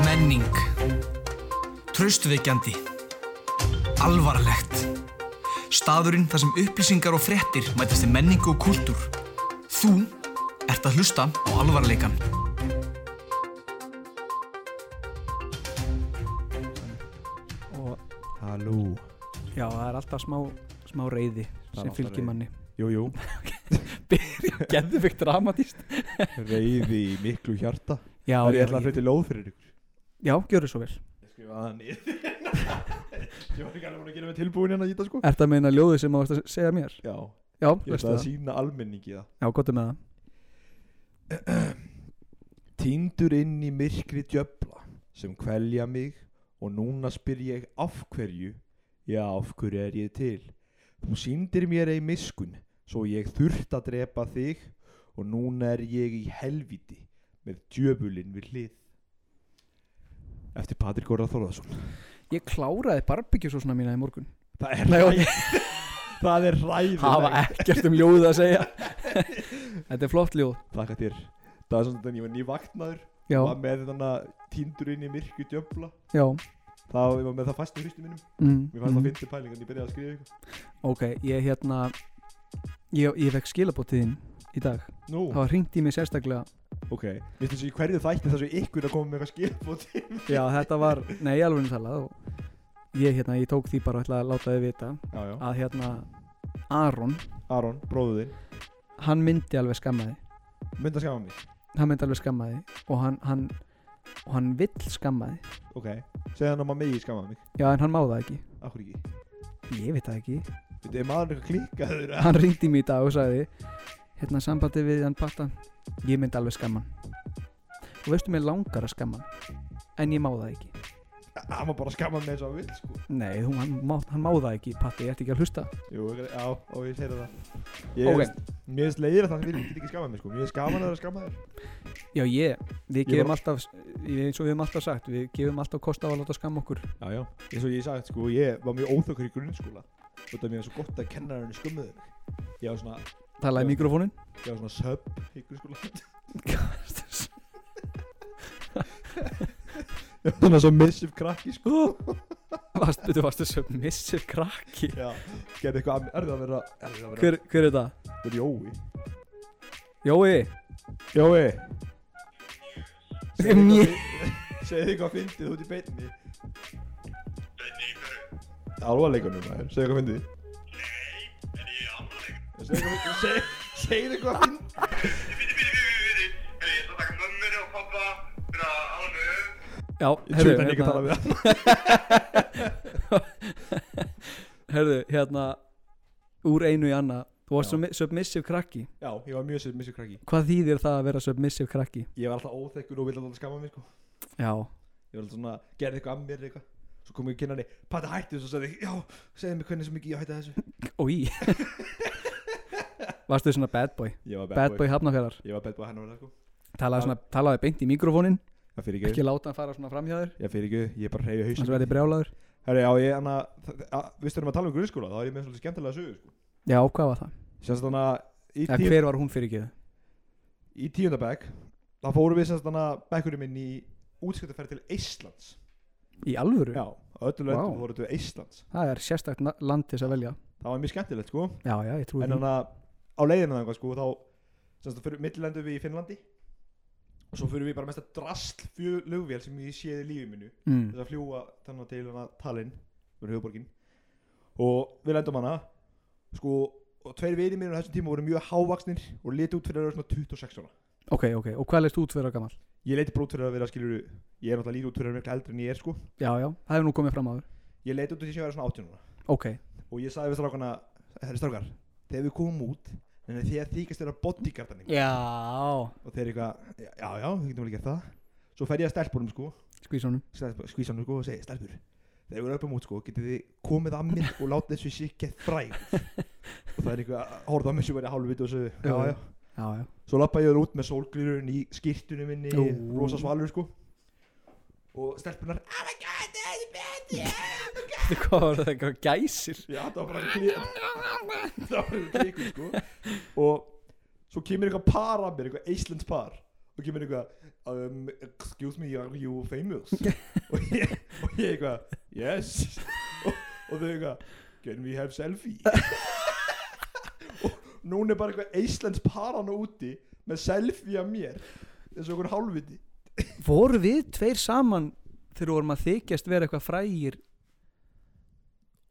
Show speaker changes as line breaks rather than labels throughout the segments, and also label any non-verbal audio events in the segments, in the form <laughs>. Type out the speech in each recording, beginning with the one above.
Spenning Traustvekjandi Alvarlegt Staðurinn þar sem upplýsingar og fréttir mætast í menningu og kultúr Þú ert að hlusta á alvarleikan
og Halló
Já, það er alltaf smá, smá reyði
er
sem
alltaf
fylgir
reiði.
manni.
Jú, jú,
Geðvikt dramatíst.
reyði í miklu hjarta
Já,
Það er
já,
ég ætla að
ég-
hluti lóð fyrir ykkur
já, gjöru svo vel.
Ég skrifa það niður <laughs> Ég var ekki alveg búin að gera mig tilbúin hérna í þetta sko
Ertu að meina ljóðið sem ást að segja mér?
Já,
Já,
ég
veistu
ætla að
það.
sína almenningi það
Já, gott er með það.
Týndur inn í myrkri djöfla sem kvelja mig og núna spyr ég af hverju Já, af hverju er ég til Þú síndir mér ei miskun svo ég þurft að drepa þig og núna er ég í helviti með djöfulinn við hlið Eftir Patrik Góra Þorðarsson
Ég kláraði barbegjusósuna mína í morgun.
Það er
Nei, og-
ræðilegt <laughs> Það er ræðilegt
Hafa ekkert um ljóðið að segja. <laughs> Þetta er flott ljóð.
Þakka þér Það er svona þannig að ég var nývagnaður
Já,
Var með þannig að tíndur inn í myrku djöfla
já.
Það ég var með það fast í hristu mínum
Mm,
Mér fannst það
mm.
fyndi pæling en ég byrjaði að skrifa ykkur
Ok, ég hérna, ég, ég fekk skilabótiðin í dag.
Nú,
Það var hringt í mig sérstaklega.
ok Mér finnst þessu í hverju þætti þessu ykkur að koma með eitthvað skilbóti
Já, þetta var, nei, alveg talað og ég hérna, ég tók því bara og ætlaði að láta þið vita
Já, já
að hérna Aron,
Aron, bróðu þinn
hann myndi alveg skammaði
Mynd að skama mig
hann myndi alveg skammaði og hann, hann, og hann vill skammaði
Ok Segðu hann að maður megi skama mig
já en hann má það ekki
Akkur ekki
ég veit það ekki
Þetta er maður eitthvað klikkaður <laughs> eða?
hann ringdi mér í dag og sagði hérna sambandi við hann patta ég myndi alveg skamman og veistu mér langar að skamman en ég má það ekki
Hann var bara að skama mig eins og hann vil sko
nei hún, hann, má, hann má það ekki patti ég ert ekki að hlusta
Jú, ok, já, og ég segir það
Ok.
Ég veist Mér finnst leiðir að það vil ekki skama mig sko Mér finnst gaman að vera að skama þér
já ég við
Ég
gefum
bara-
alltaf ég- eins og við hefum alltaf sagt við gefum alltaf kost á að láta skamma okkur
Já, já Eins og ég sagt sko Ég var mjög óþökkur í grunnskóla Þetta er mér svo gott að kennarinn skömmuði mig Ég var svona
talaði
Já.
mikrofónin
Ég var svona sub í grunnskóla Ég var <laughs> svona svo missive krakki sko <laughs>
varst, þú varst þessu missir krakki
Já Gerði eitthvað að mér Er það að vera Er það að vera
hver, hver er það?
Þetta er Jói
Jói
Jói
Segðu mér.
Segðu þig hvað fyndið út í beinni Beinni í hverju? Alvarleikunum maður Segðu hvað fyndið Nei En ég er alvarleikunum Segðu þig hvað fyndið
Já,
Ég tjóði þannig
hérna-
ekki að tala við hann
herðu, hérna Úr einu í anna Þú varst
Já.
sub- submissive krakki
Já, ég var mjög sér missið krakki
Hvað þýðir það að vera submissive krakki?
Ég var alltaf óþekkur og vildi alltaf skama mig sko
Já
Ég var alltaf svona Gerði eitthvað að mér eitthvað Svo kom ég kynna hann Patti hætti þessu og sagði Já, segðu mér hvernig sem ekki ég hætti þessu
Ói Varstu svona bad boy
Ég var
Bad boy hafnafjörðar
Ég var bad boy hennar sko
talaði, svona, talaði beint í mikrofónin
Það fyrir
Ekki láta hann fara svona framhjáður
Ég fyrir ekki, ég er bara að reyja
Þannig
hausinu
verði brjálaður
Herri, já, ég, anna, við styrum að tala um grunnskóla, þá er ég með svolítið skemmtilega sögu, sko.
Já, hvað var það?
Sérst þannig að í,
Ja,
tíu,
hver var hún fyrir ekki
í tíundabæk, þá fórum við sérst þannig að bekkurinn minn í útskiptaferð til Íslands.
Í alvöru?
Já, öllu
Vá.
löndum wow. fórum við til Íslands.
Það er sérstakt na- land til þess að velja
Það var mjög skemmtilegt, sko.
Já, já, ég trúi
En
því
þannig að á leiðinu þannig, sko, þá, sérst að fyrir millilendum við í Finnlandi og svo fyrir við bara mesta drastl flugvél sem ég séð í lífið minu.
mm.
þess að fljúa þannig til hana Tallinn fyrir höfuborgin og við lendum hana sko og tveir vinir mínir á þessum tíma voru mjög hávaksnir og leti út fyrir að vera svona 26 ára
Ok, ok, og hvað leist út fyrir að gamal?
ég leti bara út fyrir að vera skilur ég er náttúrulega lítið út fyrir að vera miklu eldri en ég er sko
Já, já, það hefur nú komið fram áður
ég leti út fyrir að vera svona 18 ára
Ok,
og ég sagði við strákana herri strákar þegar við komum út en því að þýkast þeirra bodyguardan yeah.
Já
og þeir eitthvað já já við getum vel gert það svo fer ég að stelpunum sko
Skvísunum
skvísa hann sko og segi stelpur þegar við erum upp um út sko getið þið komið að mér og látið þessu sikið fræg og það er eitthvað að horfa að mér sem verið hálfvit og þessu já,
Já.
já.
Já, já
svo lappa ég út með sólglirun í skýrtunum minni
Ú.
rosa svalur sko og stelpunar oh my god this is bad yeah.
Hvað var það eitthvað gæsir?
já það var bara klík <laughs> það var bara klík sko og svo kemur eitthvað par að mér eitthvað Íslands par og kemur eitthvað um, excuse me, are you
<laughs>
famous? og, ég, og ég eitthvað yes og, og þau eitthvað can we have
<laughs>
selfie? og núna er bara eitthvað Íslands paran úti með selfie af mér eins og okkur hálfviti
voru við tveir saman þegar við vorum að þykjast vera eitthvað frægir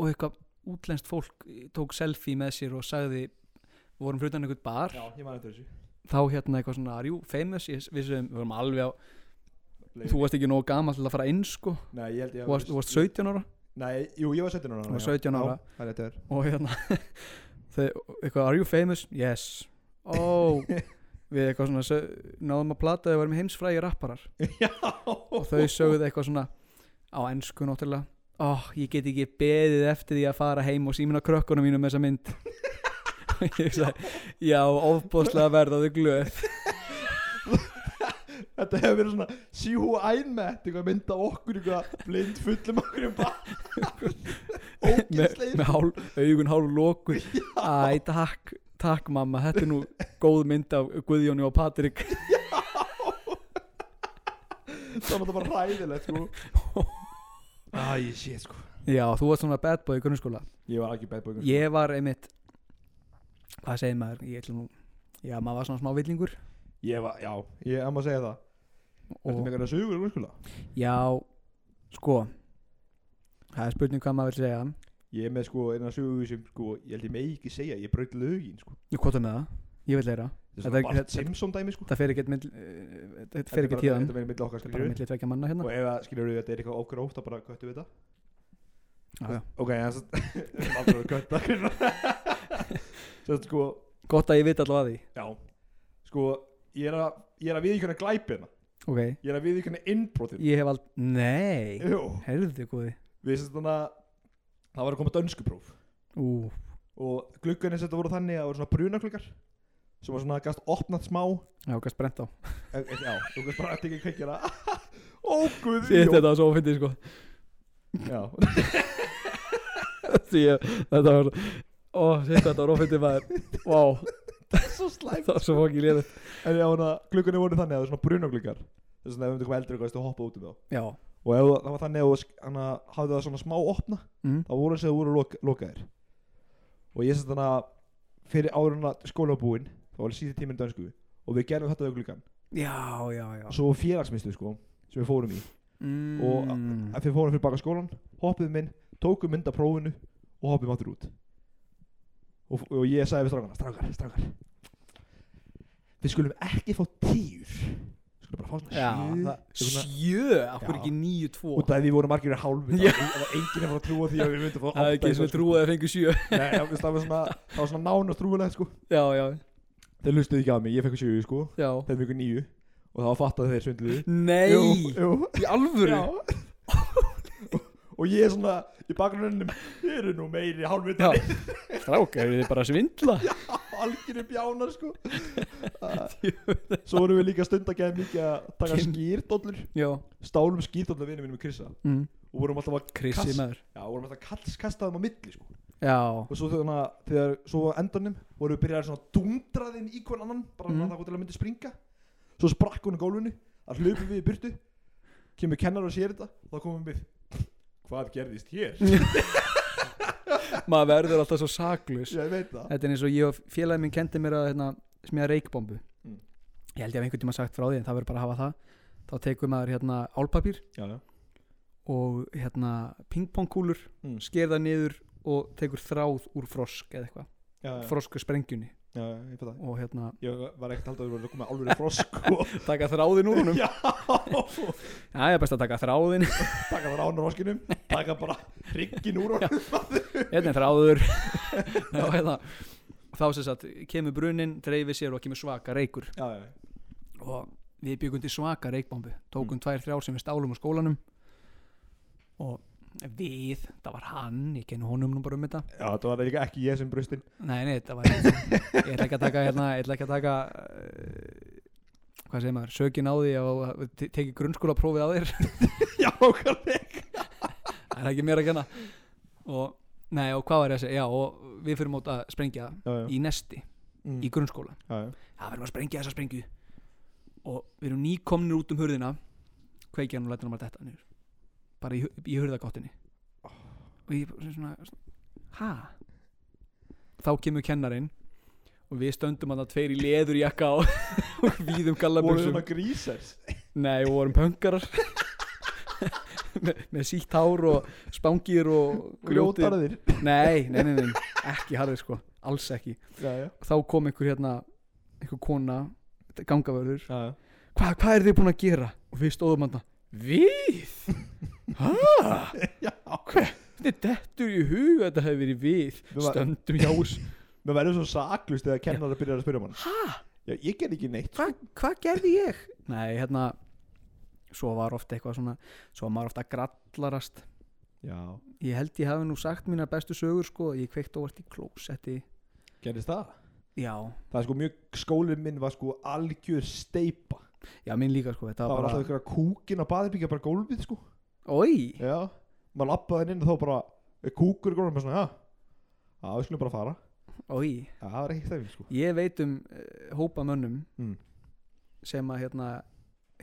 og eitthvað útlenskt fólk tók selfie með sér og sagði við vorum fyrir utan einhvern bar
ég man eftir þessu
þá hérna eitthvað svona, are you famous Ég- við, sem, við vorum alveg á,
Leif.
þú varst ekki nógu gamall til að fara inn sko
Nei, ég held ég
þú varst, þú varst 17 ára
Nei, jú, ég var 17 ára
Þú varst
já.
17 ára.
Já, það er þetta er
og hérna <laughs> þau, eitthvað, are you famous? Yes oh við eitthvað svona sö- náðum að plata þau varum heimsfrægi rapparar og
<laughs> Já
þau sögðu eitthvað svona á ennsku náttúrulega oh, ég get ekki beðið eftir því að fara heim og símina krökkunum mínum með þessa mynd <laughs> og ég sagði já, ofbóðslega verðaðu glöð
Þetta hefur verið svona See who I'm at Eitthvað mynda okkur Eitthvað blind fullum okkur um
<laughs>
bara
með,
Ógæslegir
með hál, augun hálf lóku æ, takk, takk mamma þetta er nú góð mynd af Guðjóni og Patrik
Það var það bara ræðilegt sko Æ, shit sko
<laughs> já, þú varst svona bad boy í grunnskóla
Ég var ekki bad boy sko.
ég var einmitt hvað segir maður, ég ætlum nú já, maður var svona smá villingur
Ég var, já Ég er maður að segja það Þetta er
og
með eitthvað sögur úr skula
já, sko það er spurning hvað maður vil segja
Ég er með sko eina sögur sem sko Ég held ég megi ekki segja Ég braut lögin sko
Ég kvota með það, ég vil leira
Þetta er
Þetta
svona
er-
Bart
þetta-
Simpson dæmi sko
Það fer ekki mill, eh, þetta fer
Þetta
ekki
er bara-
tíðan
Þetta er með okkar sko.
Þetta er bara
skilur
millir tvekja manna hérna
Og ef að skilur þetta er eitthvað ógróft að bara köttu við þetta
já, já.
Ok, þess <laughs> að aldrei verið <laughs> kött Svo sko
Gott að ég veit allavega því
Já Sko Ég er að Ég er að viðvíkjana glæpina
Ok,
Ég er að viðvíkjana innbrotin
ég hef aldrei, nei
Jú
Herðu góði
Við sem þannig að Það var að koma dönskupróf
Ú,
Og gluggarnir sem þetta voru þannig að Það voru svona brunagluggar Sem var svona gast opnað smá e,
já, hvað sprent á
e, Já Þú veist bara að ekki kveikjara <laughs> Ó guð
Sér þetta var svo ofindi <laughs> sko
Já
Sér, þetta var Ó, sér þetta var ofindi maður <laughs> Vá,
Svo slæmt
það var svo fokk í liðið
En já, hana, gluggarnir voru þannig að það voru svona brunagluggar Þess að ef við myndum eldri eitthvað Þú hoppa út um þá
Já,
Og ef, það var þannig að þú sk- hana, hafði það svona smá opna
mm.
þá voru þess að voru lok, lokaðir og ég sett hana fyrir árunna skólabúin þá var síðan tíminn í dönsku og við gerðum þetta við gluggan
já, já, já
svo félagsmyndstu sko sem við fórum í
mm.
og að við fórum fyrir baka skólan hoppuðum inn tókum mynd af prófinu og hoppuðum áttur út og, og ég sagði við strákana strákar, strákar við skulum ekki fá tíur við skulum bara fá svona
Já,
sjö
það,
Eitthvað svona-
sjö, akkur
Já.
ekki níu, tvo
út af því við vorum margir í hálfu
Já.
það var- það var enginn að fara að trúa því að við myndum að fá
Það
átta í
er ekki sem við
dönsku.
trúið að fengu sjö
Nei, já, veist, það var svona, það var svona nánast trúulegt sko
<laughs> Já, já,
Þeir lustuðu ekki á mig, ég fekk sjöu sko
já
Þeir fekk nýju Og það var fatt að þeir svindluðu
Nei,
Jú, jú
í alvöru
Já <laughs> Og ég er svona í bakgrunnum Þeir eru nú meiri
Já,
<laughs> hálfvitað
strák, hefur þið bara að <laughs> svindla
Algjörði bjánar sko Ah. Svo vorum við líka stund að geða mikið að taka
Kim.
skýrdollur
Já,
Stálum skýrdollu vinnu mínum í Krissa
mm.
Og vorum alltaf að
Krissi
kast-
maður
Já, vorum alltaf að kast- kasta þeim á milli sko
Já,
Og svo þegar, þegar svo á endanum vorum við byrjaði svona að dúndra þeim í hvern annan bara
Mhm.
mm. það til að myndi springa svo sprakk hún á gólfinu það hlupum við í burtu kemur kennar og sér þetta og þá komum við <laughs> hvað gerðist
<laughs>
hér?
maður verður alltaf svo saklaus
ég veit það
Þetta er eins og ég og félagið minn kendi mér að hérna, smíða reikbombu
Mm.
Ég held ég að einhvern tíma sagt frá því en það verður bara að hafa það Þá tekur maður hérna álpapír
já, já.
og hérna pingpongkúlur
Mm.
sker það niður og tekur þráð úr frosk eða eitthvað,
Já, já,
frosku sprengjunni
já, já, ég veit það
og hérna
ég var ekkert haldið að við vorum að koma alveg frosk og
taka þráðin úr honum
<laughs> já
Já, ég er best að taka þráðin,
taka það rána roskinum taka bara hryggin úr honum.
hérna er þráður <laughs> Já, hérna Þá sem sagt, kemur brunin, dreifir sér og kemur svaka reikur
já, já, já.
og við byggum til svaka reikbombu tókum tvær þrjár sem við stálum á skólanum og við það var hann, ég kenni honum nú bara um þetta
já það var líka ekki ég sem brustin
nei, nei, þetta var ég ætla ekki að taka hérna, ég ætla ekki að taka uh, hvað segir maður, sökin á því að að te- tekið grunnskóla prófið á þér
<laughs> já, okkarleg
það er ekki mér að kenna og, nei, og hvað var ég að segja, já, og við fyrir mót að sprengja
já, já.
í nesti,
Mm.
í grunnskóla
já, já.
það verðum að sprengja þessa sprengju og við erum nýkomnir út um hurðina kveikja hann og lætur hann bara þetta niður bara í, hu- í hurðagáttinni og ég bara svona hæ? þá kemur kennarin og við stöndum að það tveir í leðurjakka og, <laughs> og víðum gallabuxum
grísars?
nei, við vorum pöngarar <laughs> með, með sítt hár og spangir og ljótir.
Grjótarðir?
nei, nei, nei, nei, ekki harðir sko alls ekki,
Já, já.
þá kom einhver hérna einhver kona, gangavörður
Já, já.
Hva, hvað er þið búin að gera? Og við stóðum hann Við? Hæ?
<laughs> Já.
Hver? Þetta er dettur í hug að þetta hefði verið við
Við var-
Stöndum hjá oss
Mér verður svo saklust þegar kennar að byrja að spyrja mann. Hæ? Já, ég ger ekki neitt.
Hva, <laughs> Hvað gerði ég? Nei, hérna Svo var ofta eitthvað svona Svo var maður ofta grallarast
Já.
Ég held ég hafi nú sagt mínar bestu sögur sko Ég kveikti óvart í klósetti
Gerðist það?
Já,
Það er sko mjög, skólinn minn var sko algjör steipa.
já, minn líka sko Þetta
Það var
var
alltaf
bara
ykkur að kúkin á baðbyggja bara gólfið sko.
Ói,
Já. Maður lappaði inn og þá bara eh, kúkur í gólfið með svona, já. Já, við skulum bara fara.
ói
Já, það var ekki stefning sko.
Ég veit um uh, hópa mönnum
Mm.
sem að hérna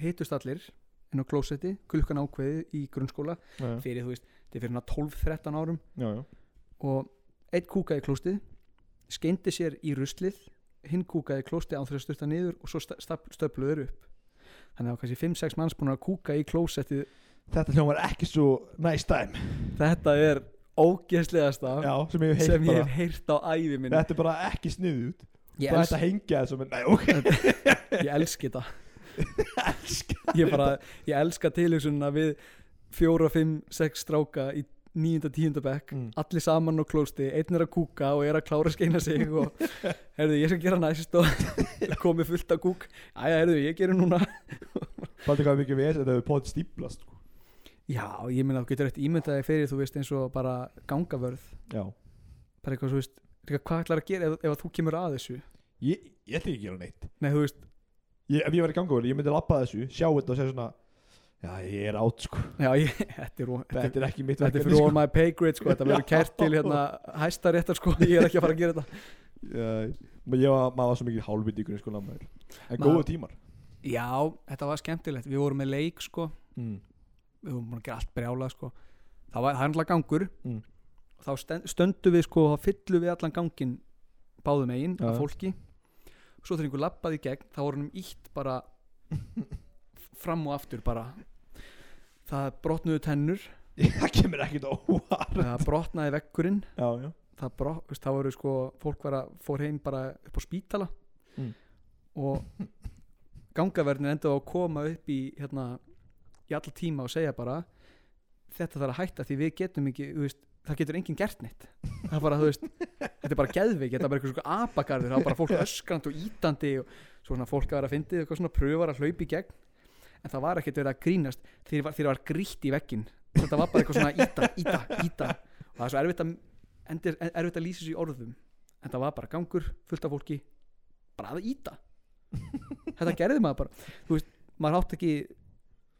hittust allir inn á klósetti klukkan ákveði í grunnskóla
Já, já.
fyrir þú veist, þetta er fyrir hérna 12-13 árum
Já, já.
og einn kúkaði í klóstið skeindi sér í ruslið hinn kúkaði í klóstið án þess að sturta niður og svo sta- staf- stöfluðu þeir upp þannig að það var kannski 5-6 manns búin að kúka í klósettið
Þetta hljómar ekki svo næst dæm.
þetta er ógeðslegasta
Já, sem ég hef heilt
sem ég
bara.
hef heyrt á ævi minni
Þetta er bara ekki sniðut. Það
ég,
er
els,
þetta hengja þessum, en næ, ok.
ég elski <laughs> þetta
Elskar
ég bara, ég elska tilhugsununa við fjóra, fimm, sex stráka í níunda, tíunda bekk
Mm.
allir saman og klósti, einn er að kúka og er að klára að skeina sig <laughs> og herðu, ég skal gera næst <laughs> og komið fullt af kúk, aðja, herðu, ég gerum núna
Faldi hvað mikið við erum, þetta hefur pot stíplast sko.
já, ég meina, þú getur eitt ímyndaði fyrir þú veist eins og bara gangavörð
Já
bara eitthvað, þú veist, líka, hvað ætlar að gera ef, ef að þú kemur að þessu,
Ég, ég ætla ekki að gera neitt
nei, þú veist
ég, Ef ég var í gangavel, ég myndi lappa þessu, sjá þetta og segja svona Já, ég er átt sko
já, ég, <laughs> þetta er, ró- þetta er
Þetta er ekki mitt
Þetta er fyrir all my pay grade sko, <laughs> þetta verður kært til hérna hæstaréttar sko, <laughs> ég er ekki að fara að gera þetta
sko. Ég var, maður var svo mikið hálfviti í grunnskóla maður. En
Maður-
góðu tímar
Já, þetta var skemmtilegt Við vorum með leik sko
mm.
Við vorum búin að gera allt brjála sko Það var það er náttúrulega gangur
Mm.
og Þá stend- stöndum við sko og fyllum við allan gangin báðum eigin
Já,
af
já.
fólki Svo þegar einhver labbaði í gegn þá var hann ítt bara
Mm.
fram og aftur bara Það brotnuðu tennur
<laughs> Það kemur ekkit á óvart
Það brotnaði vekkurinn
Já, já
það brá, veist, það voru sko fólk var að fór heim bara upp á spítala
Mm.
og gangaverðin endaði á að koma upp í hérna, í alla tíma og segja bara þetta þarf að hætta því við getum ekki þú veist, það getur enginn gert neitt það er bara, þú veist, þetta er bara geðveik þetta er bara eitthvað svona apagarður, það er bara fólk öskrand og ítandi og svona fólk að vera að fyndið eitthvað svona pröfar að hlaupa í gegn en það var ekkert verið að grínast þeir var, þeir var grýtt í veggin þetta var bara eitthvað svona íta, íta, íta og það er svo erfitt að, endir, erfitt að lýsa sér í orðum en það var bara gangur fullt af fólki bara að
<laughs>
íta þetta gerði maður bara þú veist, maður átti ekki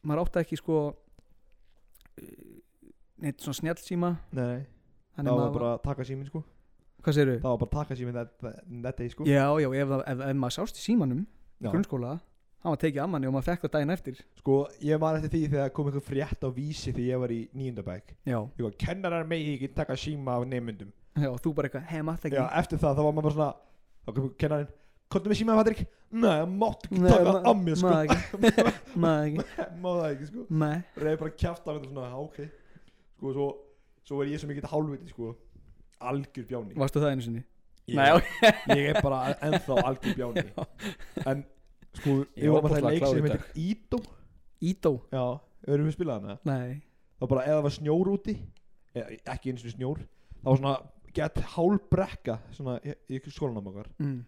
maður átti ekki sko eh, neitt svona snjallsíma
Nei, nei
þannig
Það var
maður,
bara að taka síminn sko
hvað segirðu?
Það var bara að taka síminn þetta degi sko
já, já, ef, það- ef, ef maður sást í símanum í
Já.
grunnskóla, hann var tekið af manni og maður fekk það daginn eftir
Sko, ég var eftir því þegar kom eitthvað frétt á vísi Þegar ég var í nýjöndabæk
já,
Ég var kennarar megi ekki taka síma af nefnundum
já þú bara eitthvað, hei maður það
Já,
ekki
eftir það, þá var maður bara svona Þá kom kennarinn, komdu með símaði Patrik Nei, það mátt ekki
Nei,
taka
ma-
af mér sko <laughs>
maður ekki, maður ekki,
Má það ekki sko
maður
Reyði bara að kjafta af þetta svona, já, ok Sko, svo, svo er ég sem ekki hálfviti sko Algjör bjáni
Varstu það einu sinni?
ég,
Nei, ok.
ég er bara ennþá algjör
<laughs>
bjáni En, sko,
Ég
ég
var
var bara
ofboðslega
það leik
klár í
sem
dag.
heitir Ídó
Ídó?
Já, erum við spilað hana?
Nei
Það var bara, ef það var snjór úti eða, Ekki eins og snjór Það var svona, gett hálbrekka Svona, í, í skólanum okkar
mm.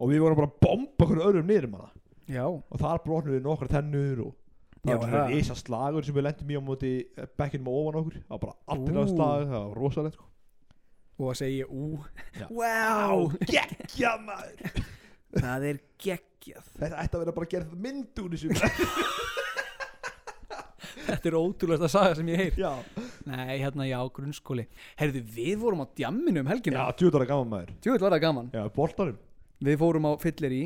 og við vorum bara að bomba okkur öðrum niður um hana
Já
og þar brotnum við nokkar tennur og það
Já,
var svona
það.
reysa slagur sem við lendum í á móti eh, bekkinn með ofan okkur það var bara allir
Ú.
að slagur, það var rosalegt sko.
Og að segja ú
Já.
Wow
geggja maður
<laughs> Það er geggjað
þetta ætti að vera bara að gera þetta mynd úr
<laughs>
þessu
Þetta er ótrúlega að saga sem ég heyr
já,
Nei, hérna já, grunnskóli Herðu, við vorum á djamminu um
já
helgina
tjóðar að gaman maður
Tjóðvill var það gaman
já, boltarum
Við fórum á fyllir í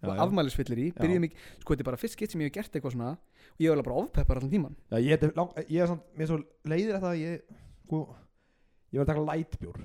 Já,
og
já.
afmælisfyllir í
Já.
byrjum í, sko þetta er bara fyrst skitt sem ég hef gert eitthvað svona og ég var bara ofpeppar allan tíman
Já, ég, þetta er lang, ég er samt, mér er svo leiðir þetta að ég, sko, ég var að taka lightbjór.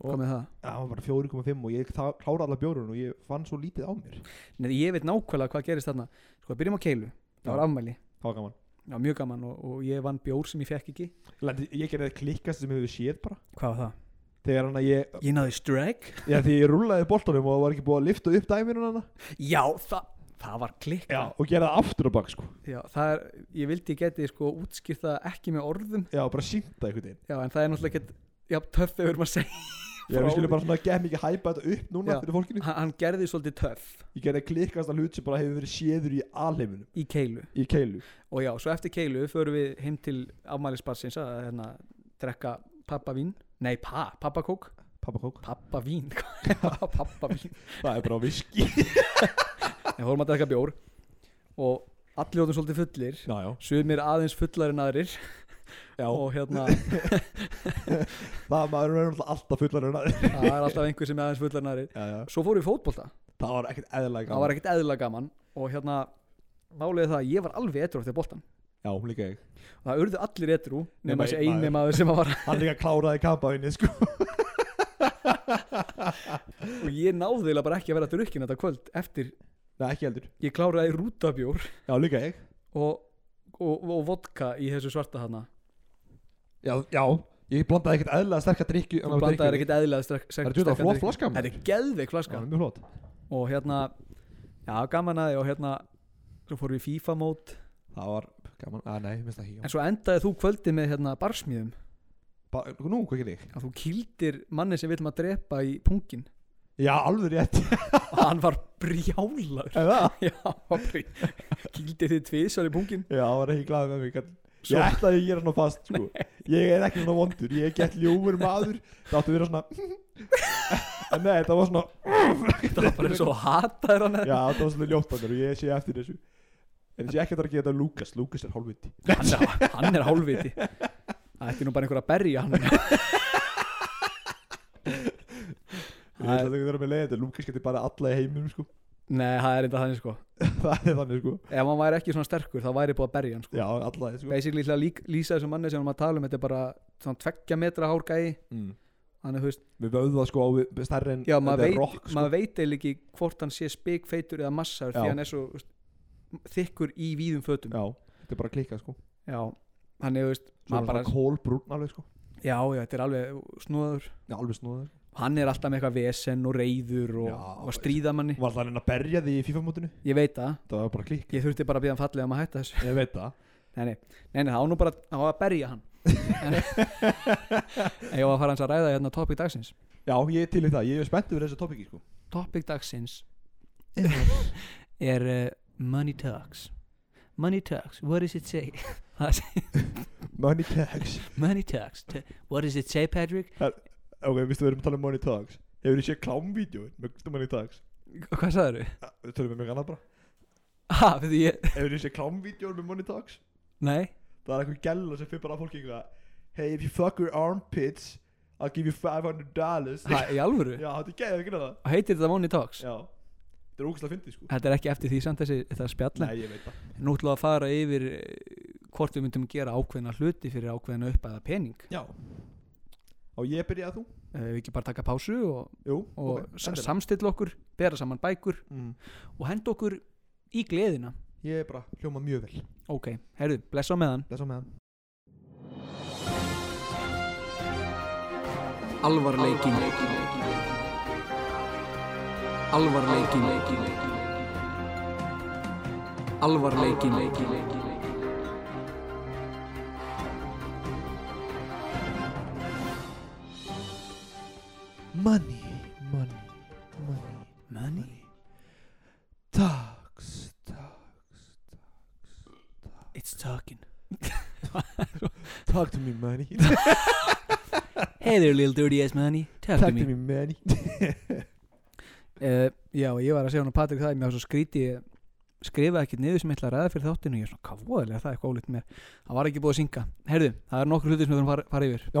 hvað með það?
Já, hann var bara 4,5 og ég þa- kláraði alla bjórun og ég fann svo lítið á mér.
Nei, ég veit nákvæmlega hvað gerist þarna sko byrjum á keilu, það
Já.
var afmæli
Það var gaman.
já, mjög gaman og, og ég vann bjór sem ég fekk ekki
Lendi, ég gerði það klikkast sem hefur séð bara.
hvað var það?
Þegar hann að ég,
Ég náði streg
já því ég rúlaði boltanum og var ekki búið að lifta upp dæmirinn hann.
Já, það, það var klikk
Já. Og gerði það aftur á bak, sko.
Já, það er, ég vildi ég geti sko útskýrt það ekki með orðum
Já, bara sínta einhvern veginn.
Já, en það er náttúrulega ekki Já, töff þegar maður segja
Já, við skilum bara svona gem ekki hæpa þetta upp núna
Já.
fyrir fólkinu.
Hann hann gerði svolítið töff
Ég gerði klikkast að hlut sem bara hefur verið séður í alheiminum,
í keilu
í keilu.
Og já, svo eftir keilu förum við heim til afmælisbarsins að hérna, drekka pappavín Nei, pa, pappakók
Pappakók.
Pappavín, <laughs> pappavín
Það er bara viski.
Við fórum að drekka bjór og allir vorum svolítið fullir
já, já.
Sumir aðeins fullar en aðrir
Já,
og hérna,
það maður er náttúrulega alltaf fullar en aðeins.
það er alltaf einhver sem er aðeins fullar en aðrir
Já, já.
Svo fórum við í fótbolta
Það var ekkert eðlæg
það var ekkert eðla gaman og hérna málið er það að ég var alveg etru eftir boltan
Já, líka ég.
og það urðu allir etru
Nema
nema þessi
einn
eini maður sem að var <laughs>
Hann líka kláraði kampaðinni, sko. <laughs>
og ég náði eiginlega bara ekki að vera drukkin þetta kvöld eftir
Nei, ekki heldur.
ég kláraði rútabjór
Já, líka ég.
og, og, og vodka í þessu svarta hana
Já, já. Ég blandaði ekkert eðlæg sterkar drikju.
þú blandaðir ekkert eðla
Það er þetta flott flaska.
þetta
maður.
er
Já,
geðveik
það
flaska
er mjög flott.
og hérna já gaman aði og hérna svo fórum við í FIFA mót
Það var gaman. Að, nei, minnst það ekki.
en svo endaði þú kvöldi með hérna barsmíðum
Ba nú, hvað gerir ég?
að þú kýldir manni sem við viljum að drepa í punkin
Já, alveg rétt. <laughs>
og hann var brjálaður
Eða?
Já, Hopri Gildi þið tvisar í pungin
Já, það var ekki glæðið með mig. kall.
Svo-
Ég ætlaði að gera hann á fast, <laughs> sko. Ég er ekki svona vondur. Ég er gett ljúfur maður. Það áttu að vera svona... <laughs> En nei, það var svona...
Það var bara eins og hataður hann
Já, það var svolítið ljóttanur og ég sé eftir þessu En ég sé ekkert að gera þetta Lukas, Lukas er hálfviti
hann, er- hann er hálfviti Það ætti nú bara einhver að berja hann
Ég ætla ekki að vera með leiðið þetta, Lukas getur bara alla í heiminum sko <laughs>
Nei, það er enda þannig sko
Það er þannig sko
Ef hann væri ekki svona sterkur þá væri búið að berja hann sko
Já, alla í sko
Basically til að lík, lýsa þessum manni sem hann að tala um Þetta er bara svona tveggja metra hár gæi
mm.
Þannig þú veist,
Við vöðum það sko á við- stærri en
já maður
þetta er
veit,
rock, sko.
maður veit eiginlega ekki hvort hann sé spikfeitur eða massar
Já.
því hann er svo þú veist, þykkur í víðum fötum Já,
Já, þetta er bara að klikka sko
þannig þú veist,
Svo er
maður bara
bara kólbrún alveg sko
Já, já, þetta er alveg snúður
Já, alveg snúða sko.
hann er alltaf með eitthvað vesen og reyður og,
Já,
og að stríða manni
Var það henni að berja því í FIFA-mótinu?
ég veit það,
Það var bara klikk
ég þurfti bara að býða hann fallið um að hætta þessu
Ég veit það
nei, nei, nei, nei það var nú bara það var að berja hann
<laughs>
en, en ég var að fara hans að ræða hérna topic dagsins
Já, ég er til í það, ég er spenntið fyrir þessu topiki sko
topic dagsins <laughs> er uh, money talks money talks, what does it say <laughs>
Money tags
money talks, T- what does it say Patrick
Ok, vistu við erum að tala um money tags Hefur þið séð klámvídeóin með money tags?
hvað sagður <laughs>
Ah, Tölum við mig annað bara
þau?
Hefur þið séð klámvídeóin með money tags?
nei,
Það er eitthvað gæla sem fyrir bara fólki eitthvað Hey, if you fuck your armpits I'll give you 500 dollars
ha, í alvöru
<laughs> Já, þetta er gæðið ekki það
heitir þetta money talks
Já Þetta er ógæslega fyndið sko
þetta er ekki eftir því samt þessi þetta spjall
Nei, ég veit það
nú ætlum við að fara yfir eh, hvort við myndum gera ákveðna hluti fyrir ákveðna uppæða pening
Já Á ég byrja að þú?
Eh, við ekki bara taka pásu og,
Jú
og
ok,
okay,
endilega.
samstilla okkur bera saman bækur
mm,
og henda okkur í gleðina
Ég er bara hljóma mjög vel
ok, herðu, blessa á meðan
Lesa með hann
alvarleikin alvarleikin alvarleikin
Money Money Money
money
Tags Tags
it's talking
Talk to me money
hey there little dirty ass money talk,
Talk to me money
Uh, já, ég var að segja hann að Patrik það mér var svo skríti ég skrifaði ekkert niður sem ég ætla að ræða fyrir þáttinu ég er svona, hvað voðalega það er eitthvað ólíkt mér það var ekki búið að synga Herðu, það er nokkur hluti sem við þurfum að fara, fara yfir
Já.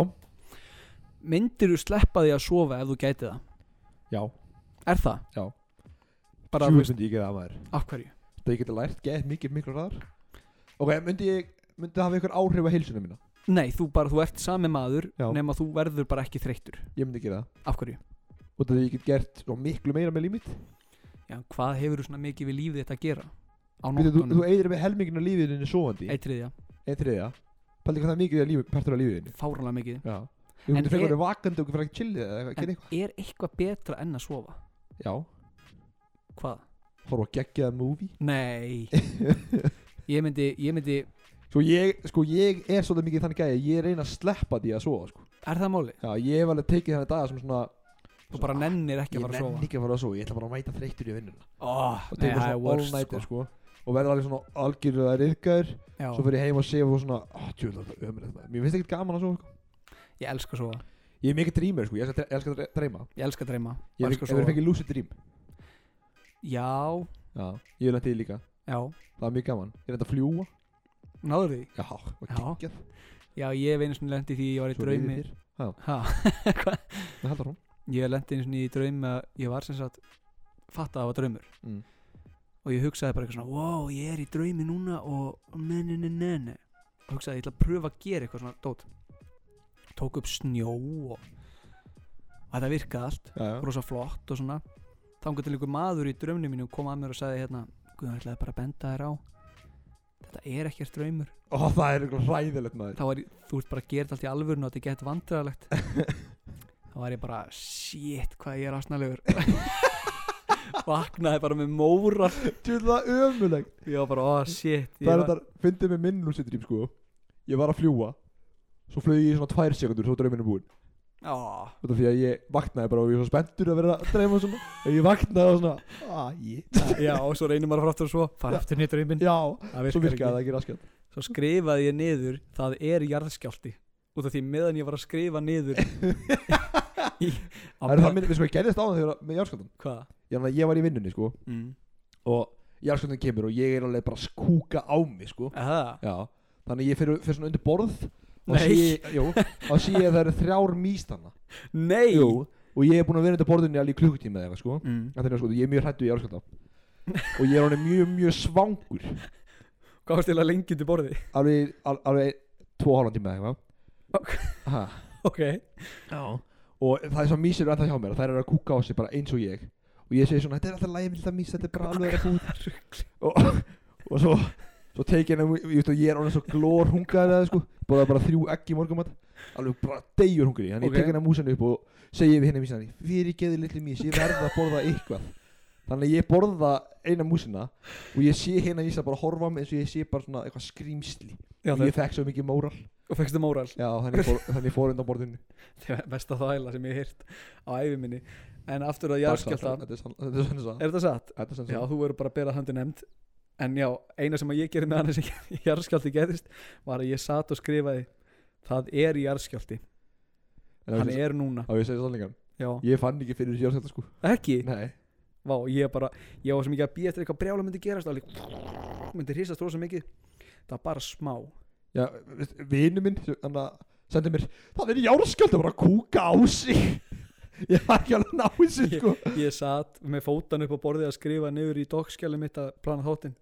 Myndir þú sleppa því að sofa ef þú gæti það?
Já
Er það? bara, þú
Jú,
veist,
myndi ég gera það maður
af hverju
Það ég geti lært, get mikið miklu hraðar Ok, myndi ég, myndi það hafa ykkur áhrif á heilsuna mína?
Nei, þú bara, þú ert sami maður
Já.
nema þú verður bara ekki þreyttur
Ég myndi gera það
Af hverju?
Og það ég get gert svo miklu meira með límit
Já, hvað hefur þú svona mikið við lífið þetta að gera? Á
Þú, þú, þú
nóttunum,
eitir með helmingin af lífiðinni sofandi
eitt þriðja,
Einn þriðja Paldi hvað það er mikið af lífi, partur af lífiðinni
fáranlega mikið
Já Ég
En
myndi fengur
er-
það vakandi og fyrir að chillið eða eitthvað, gera eitthvað
Er eitthvað betra enn að sofa?
Já, <laughs>
Hvað?
horfa að gegja það movie <laughs>
Nei Ég myndi, ég myndi,
Svo ég, sko ég er svolítið mikið þannig gæði Ég reyna að sleppa því að sofa, sko
er það máli?
Já, ég hef alveg tekið þannig daga sem svona
Þú bara nennir ekki
Ég
að fara að
nenni
sofa
ekki að fara að sofa, ég ætla bara að mæta þreyttur í vinnuna
oh,
Og
Nei,
tekur
það er
svona all
worst
nighter,
sko.
sko Og verður alveg svona algjörlega riðgæður
Já,
Svo fyrir ég heim og segja og svona "Ah, Djöfull, það er ömurlegt maður." Mér finnst ekkert gaman að sofa, sko
Ég elska að sofa,
Ég er mikið dreamer, sko, ég elska- ég elska að dreyma
ég elska að dreyma
Ég hef
elska að
verið
sofa.
fengið lucid dream
Já,
Já, ég hef lent í því líka
já,
Það var mjög gaman Ég reyndi að fljúa
náður því
Já, og
Já.
geggjað
Já, ég hef einu svona lendi því ég var í
Svo
draumi
niður þér.
Ha, hvað?
Það heldur hún
ég lendi eins og í draum að ég var sem sagt fatt að það var draumur
Mm.
og ég hugsaði bara eitthvað svona wow, ég er í draumi núna og menninninninni og hugsaði ég ætla að pröfa að gera eitthvað svona dót tók upp snjó og, og þetta virkaði allt
Já, já
rosa flott og svona þá um til einhver maður í draumni mínu kom að mér og sagði hérna Guðan ætlaði bara að benda þér á þetta er ekkert draumur
Ó, það er eitthvað hræðilegt maður
þá var ég, þú ert bara að gera þetta allt í alvörun og þetta er gett vandræðalegt þá var ég bara, shit, hvað ég er asnalegur <laughs> vaknaði bara með mórar
<laughs> Djöfull, Það er ömulegt
ég var bara, oh shit ég
Það er
var,
þetta, fyndið með minn lucid dream, sko Ég var að fljúa Svo flög ég í svona tvær sekundur, svo drauminn er búinn
á,
Þetta því að ég vaknaði bara og ég var svo spenntur að vera að dreyma svona Og ég vaknaði og svona Ah,
<laughs>
ég
já, og svo reynir maður að fara aftur og svo fara aftur nýttur í minn
Já,
það
svo virkaði það
ekki.
ekki raskjöld
svo skrifaði ég niður, það er jarðskjálti út af því meðan ég var að skrifa
<laughs>
niður í, á,
Það er það minn, við sko, ég gerðist á það þegar með járskjöldan
hvað
Ég meina, ég var í vinnunni, sko
mm.
Og járskjöldan kemur og ég er alveg bara að skúka á mig, sko
Aha,
Já, þannig að ég fyrir, fyrir svona undir borð og
Nei.
sé, ég- jú, og sé ég að það eru þrjár místanna
nei
Jú, og ég hef búin að vera undir borðinni alveg í klukkutíma eða eitthvað sko
mm.
En þannig að sko, ég er mjög hrættu í árskölda
<laughs>
og ég er honum mjög, mjög svangur
hvað var stila lengi til borði
alveg, al, alveg tvo og hálfan tíma eða
Ok.
eitthvað Ha,
<laughs> ok,
og það er svo mísir er ennþá hjá mér, það er að kúka á sig bara eins og ég og ég segi svona, þetta er alltaf lægum þetta mís, þetta er bara alveg að
<laughs>
búið og, og svo, svo teki henni, ég veist að ég er honum svo glór hungaður eða sko, bara, bara þrjú egg í morgumat alveg bara deyjur hungri þannig
Ok.
ég tek henni músinu upp og segi við henni mísinu fyrir geði litli mís, ég verða að borða eitthvað þannig að ég borða eina músina og ég sé hérna mísa bara horfa á mig eins og ég sé bara svona eitthvað skrýmsli
já,
og ég fekk svo mikið móral
og fegstu móral
já, þannig ég fór, þannig ég fór undan borðinu
það er besta þvæla sem ég heirt á æfi minni en aftur að jarðskjálta
Þetta er sann- þetta er sann-
er þetta satt?
Þetta er sann
Já, þú verður bara að bera höndu nefnd en já, eina sem að ég gerði með hann sem <laughs> jarðskjálti gerðist var að ég satt og skrifaði það er jarðskjálti, hann
sann
er núna
Á ég segi sannleikan
já,
Ég fann ekki fyrir þessi járskjálta sko
ekki,
Nei
vá, ég bara ég var sem ekki að býja eftir eitthvað brjála myndi gerast og alveg <laughs> myndi hristast rosa mikið það var bara smá
Já, vinnu minn Þannig að sendi mér Það er járskjálta bara að kúka á sig <laughs> Ég var ekki alveg náðu sér sko
ég satt með fótan upp á borðið að skrifa niður í dokkskjali mitt að plana þáttinn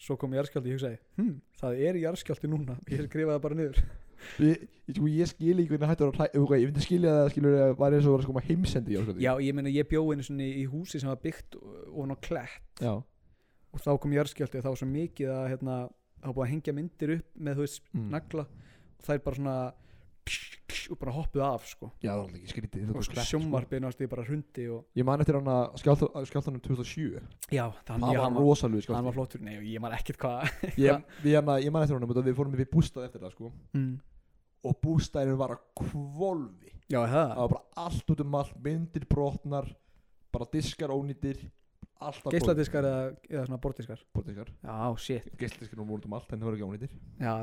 svo kom jarðskjálti, ég hugsaði hm, það er jarðskjálti núna, ég skrifaði það bara niður
Ég, ég, sko, ég skil ekki hvernig hættur að hræ- ok, Ég myndi skilja það skilur að var eins og var að sko heimsendi járskjálta
já, ég meina ég bjóði einu svona í húsi sem var byggt ofan á klett
Já
og þá kom jarðskjálti og það var svo mikið að hérna, það var búið að hengja myndir upp með þú veist,
Mm.
nagla og það er bara svona og bara hoppuð af sko
Já, það var alltaf ekki skrítið þetta
og
var
sko,
slett,
sjónvarpið náttúrulega bara hrundi og
Ég man eftir hann að skjáltanum 2007
já, þannig
Það
að
var
hann var,
rosalegu
hann
skjálta
var flottur nei, ég maður ekkert hvað
Ég, við hérna- ég man eftir hann að við fórum við bústað eftir það sko
mm.
Og bústaðinu var að kvolfi
já,
það
það,
var bara allt út um allt myndir brotnar bara diskar ónýtir alltaf
geisladiskar eða, eða svona bordiskar
geisladiskar
já, shit
geisladiskar voru út um allt en það voru ekki ónýtir
Já,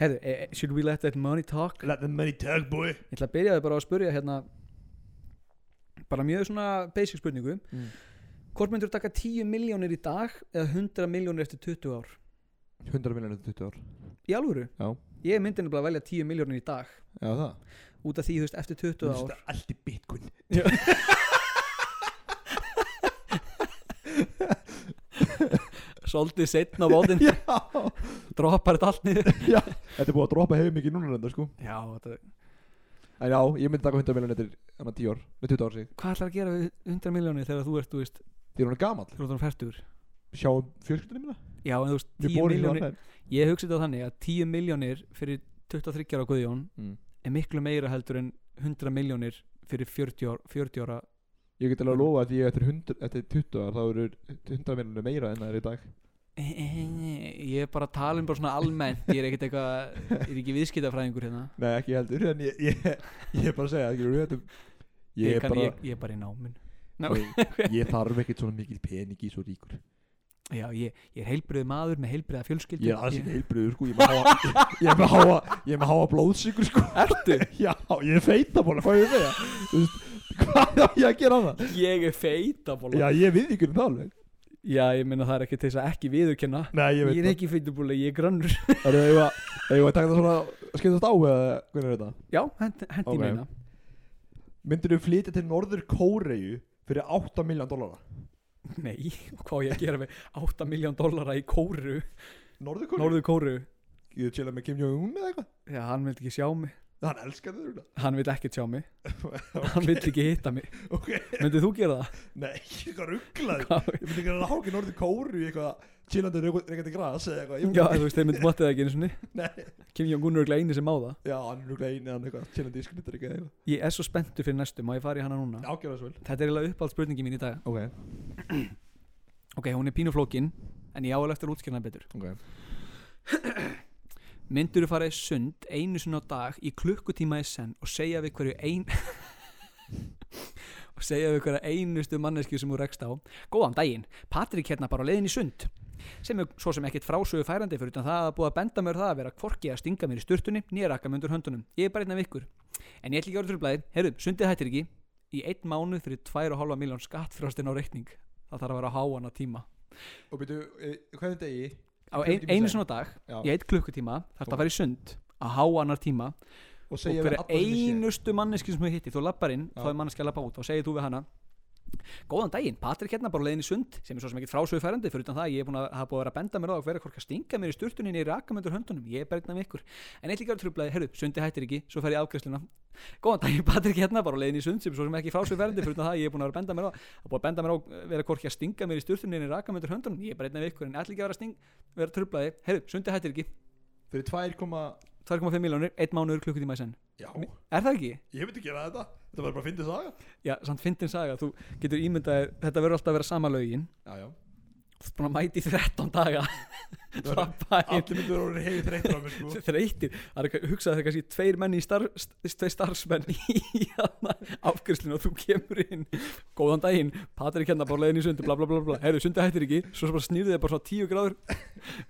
herðu, eh, should we let that money talk?
let the money talk boy
Ég ætla að byrja þau bara á að spurja hérna bara mjög svona basic spurningu
Mm.
Hvort myndur þú taka 10 miljónir í dag eða 100 miljónir eftir 20 ár?
100 miljonir 20 ár
Í alvöru?
Já.
Ég myndi nefnilega að velja 10 miljónir í dag
já það
út af því, þú veist, eftir 20
Þú
ár
veist,
<laughs>
allt í bitcoin
svolítið setna á bóðin
Já,
droppar þetta allt niður
já Þetta er búið að droppa hefur mikið núna reynda sko
já, þetta,
En já, ég myndi taka 100 miljón eftir annar 10 ár Nei, 20 ár sig
hvað ætlar að gera við 100 miljónir þegar þú ert, þú veist,
Því er hún er gamall
þú ert hann færtur
Sjáum fjölskyldunum minna
já, en þú veist,
Við
10
borum hjá
miljónir
hann
ég hugsi þetta þannig að 10 miljónir fyrir 23 ára Guðjón
Mm.
er miklu meira heldur en 100 miljónir fyrir 40 ára, 40 ára
Ég get alveg að lofa að ég eftir, 100, eftir 20 ár þá eru 100 miljonir meira en það er í dag
ég er bara að tala um bara svona almennt ég er ekkert eitthvað, ég er ekki viðskiptafræðingur hérna
Nei, ekki heldur En ég, ég, ég er bara að segja ekki, við höfum,
ég,
Ég er
kann,
bara
ég, ég er bara í námin Ná.
ég, ég þarf ekkert svona mikil pening í svo ríkur
já, ég, ég er heilbriðið maður með heilbriða fjölskyldu
Ég er aðeins ekki heilbriður sko Ég er með háa- ég- ég er með háa Ég er með háa blóðsikur sko
Ertu?
Já, ég er feita bóla, hvað er það? Þú veist, hvað er ég að gera annað?
Ég er feitabóla
Já, ég við ykkur um það alveg
Já, ég meina það er ekki til þess að ekki viðurkenna
Nei, ég
Ég,
veit
er ekki feitabóla, ég er grannur
það Það er eigum að, eigum að taka það svona Skiptast á eða hvernig er þetta?
Já, hendi
Ok.
hent ég meina
Myndirðu flytja til Norður Kóreju fyrir 8 miljón dólara?
Nei, <laughs> hvað á ég að gera með 8 miljón dollara í kóru
Norður Kóreju?
Norður kóru
Ég er chillað með Kim Jong-un eða eitthvað
Já, hann vil ekki sjá mig
Hann elskar þau þetta
Hann vil ekki sjá
<laughs>
mig Hann vil ekki hitta mig
Ok,
Myndið þú gera það?
nei, <laughs> eitthvað rugglaður
Hvað-
Ég myndi ekki að háka í Norður Kóreju í eitthvað Chillandi reykjandi gras eða eitthvað Ég
Já,
myndi-
þú veist, þeir myndið máttið ekki einu sinni
Nei,
Kim Jong-un er ekki einu sem á það
já, hann er rugglaður einu hann eitthvað Chillandi í skrittaríka eða eitthvað
Ég er svo spenntu fyrir næstu, má ég fara í hana núna?
Ágjöra svo vel
Þetta er eiginlega uppáld spurningi mín í dag
Ok,
Ok, hún er pínuflókin, en ég álega eftir að útskjörna betur
ok
Myndur þú fara í sund einu sinni á dag í klukkutíma í senn og segja við hverju ein <laughs> og segja við hverja einustu manneski sem þú rekst á Góðan daginn, Patrik hérna bara á leiðin í sund sem er svo sem ekkert frásögu færandi fyrir utan það að búa að benda mér á það að vera hvorki að stinga mér í sturtunni nýja rakka mig undur höndunum ég er bara einn af ykkur en ég ætla ekki að orða trublaði herru, sundið hættir ekki í einn mánu fyrir 2,5 miljón skattfrástin á reikning það þarf að vera á háana tíma
Og byrju, eh, hvernig degi?
á
Klukkutíma
ein,
í
einu
senn.
sinni á dag
Já,
í einn klukkutíma þarf
Ok.
að fara í sund á háanar tíma
og
og
segja við
hverja
alla sem ég sé.
einustu manneski sem þú hittir þú lappar inn,
Já.
þá er manneski að lappa út og segir þú við hana góðan daginn, Patrik hérna bara á leiðin í sund sem er svo sem ekkert frásögufærandi fyrir utan það að ég er búin að hafa búin að vera að benda mér á að vera hvort að stinga mér í sturtuninni í rakamöndur höndunum ég er bara einn af ykkur en eitthvað ekki að trublaði, herru, sundi hættir ekki svo fer ég í afgreiðsluna góðan daginn, Patrik hérna bara á leiðin í sund sem er svo sem ekki frásögufærandi fyrir utan það að ég er búin að vera að benda mér á að búin að benda mér á að vera hvort að stinga mér í sturtuninni í rakamöndur höndunum ég er bara einn af ykkur en ætla ekki að vera, sting, vera trublaði herru, sundi hættir ekki
Fyrir 2,
2,5 miljónir, 1 mánuður klukkutíma í senn
já,
er það ekki?
ég myndi gera þetta Þetta var bara að fyndið saga
Já, samt fyndin saga, þú getur ímyndaðir, þetta verður alltaf að vera sama lögin
Já, já
Þú ert búin að mæti 13 daga
verður-
Lappa inn,
Allir myndir voru heið þreyttur á mér sko
<laughs> þreytir Það er eitthvað, hugsaðu þegar kannski tveir menn í starf, st- tveir starfsmenn í afgjörslinni og þú kemur inn Góðan daginn, Patrik hérna bara á leiðin í sundi, bla bla bla bla Herðu, sundi hættir ekki, svo bara snýrðu þið bara svona 10 gráður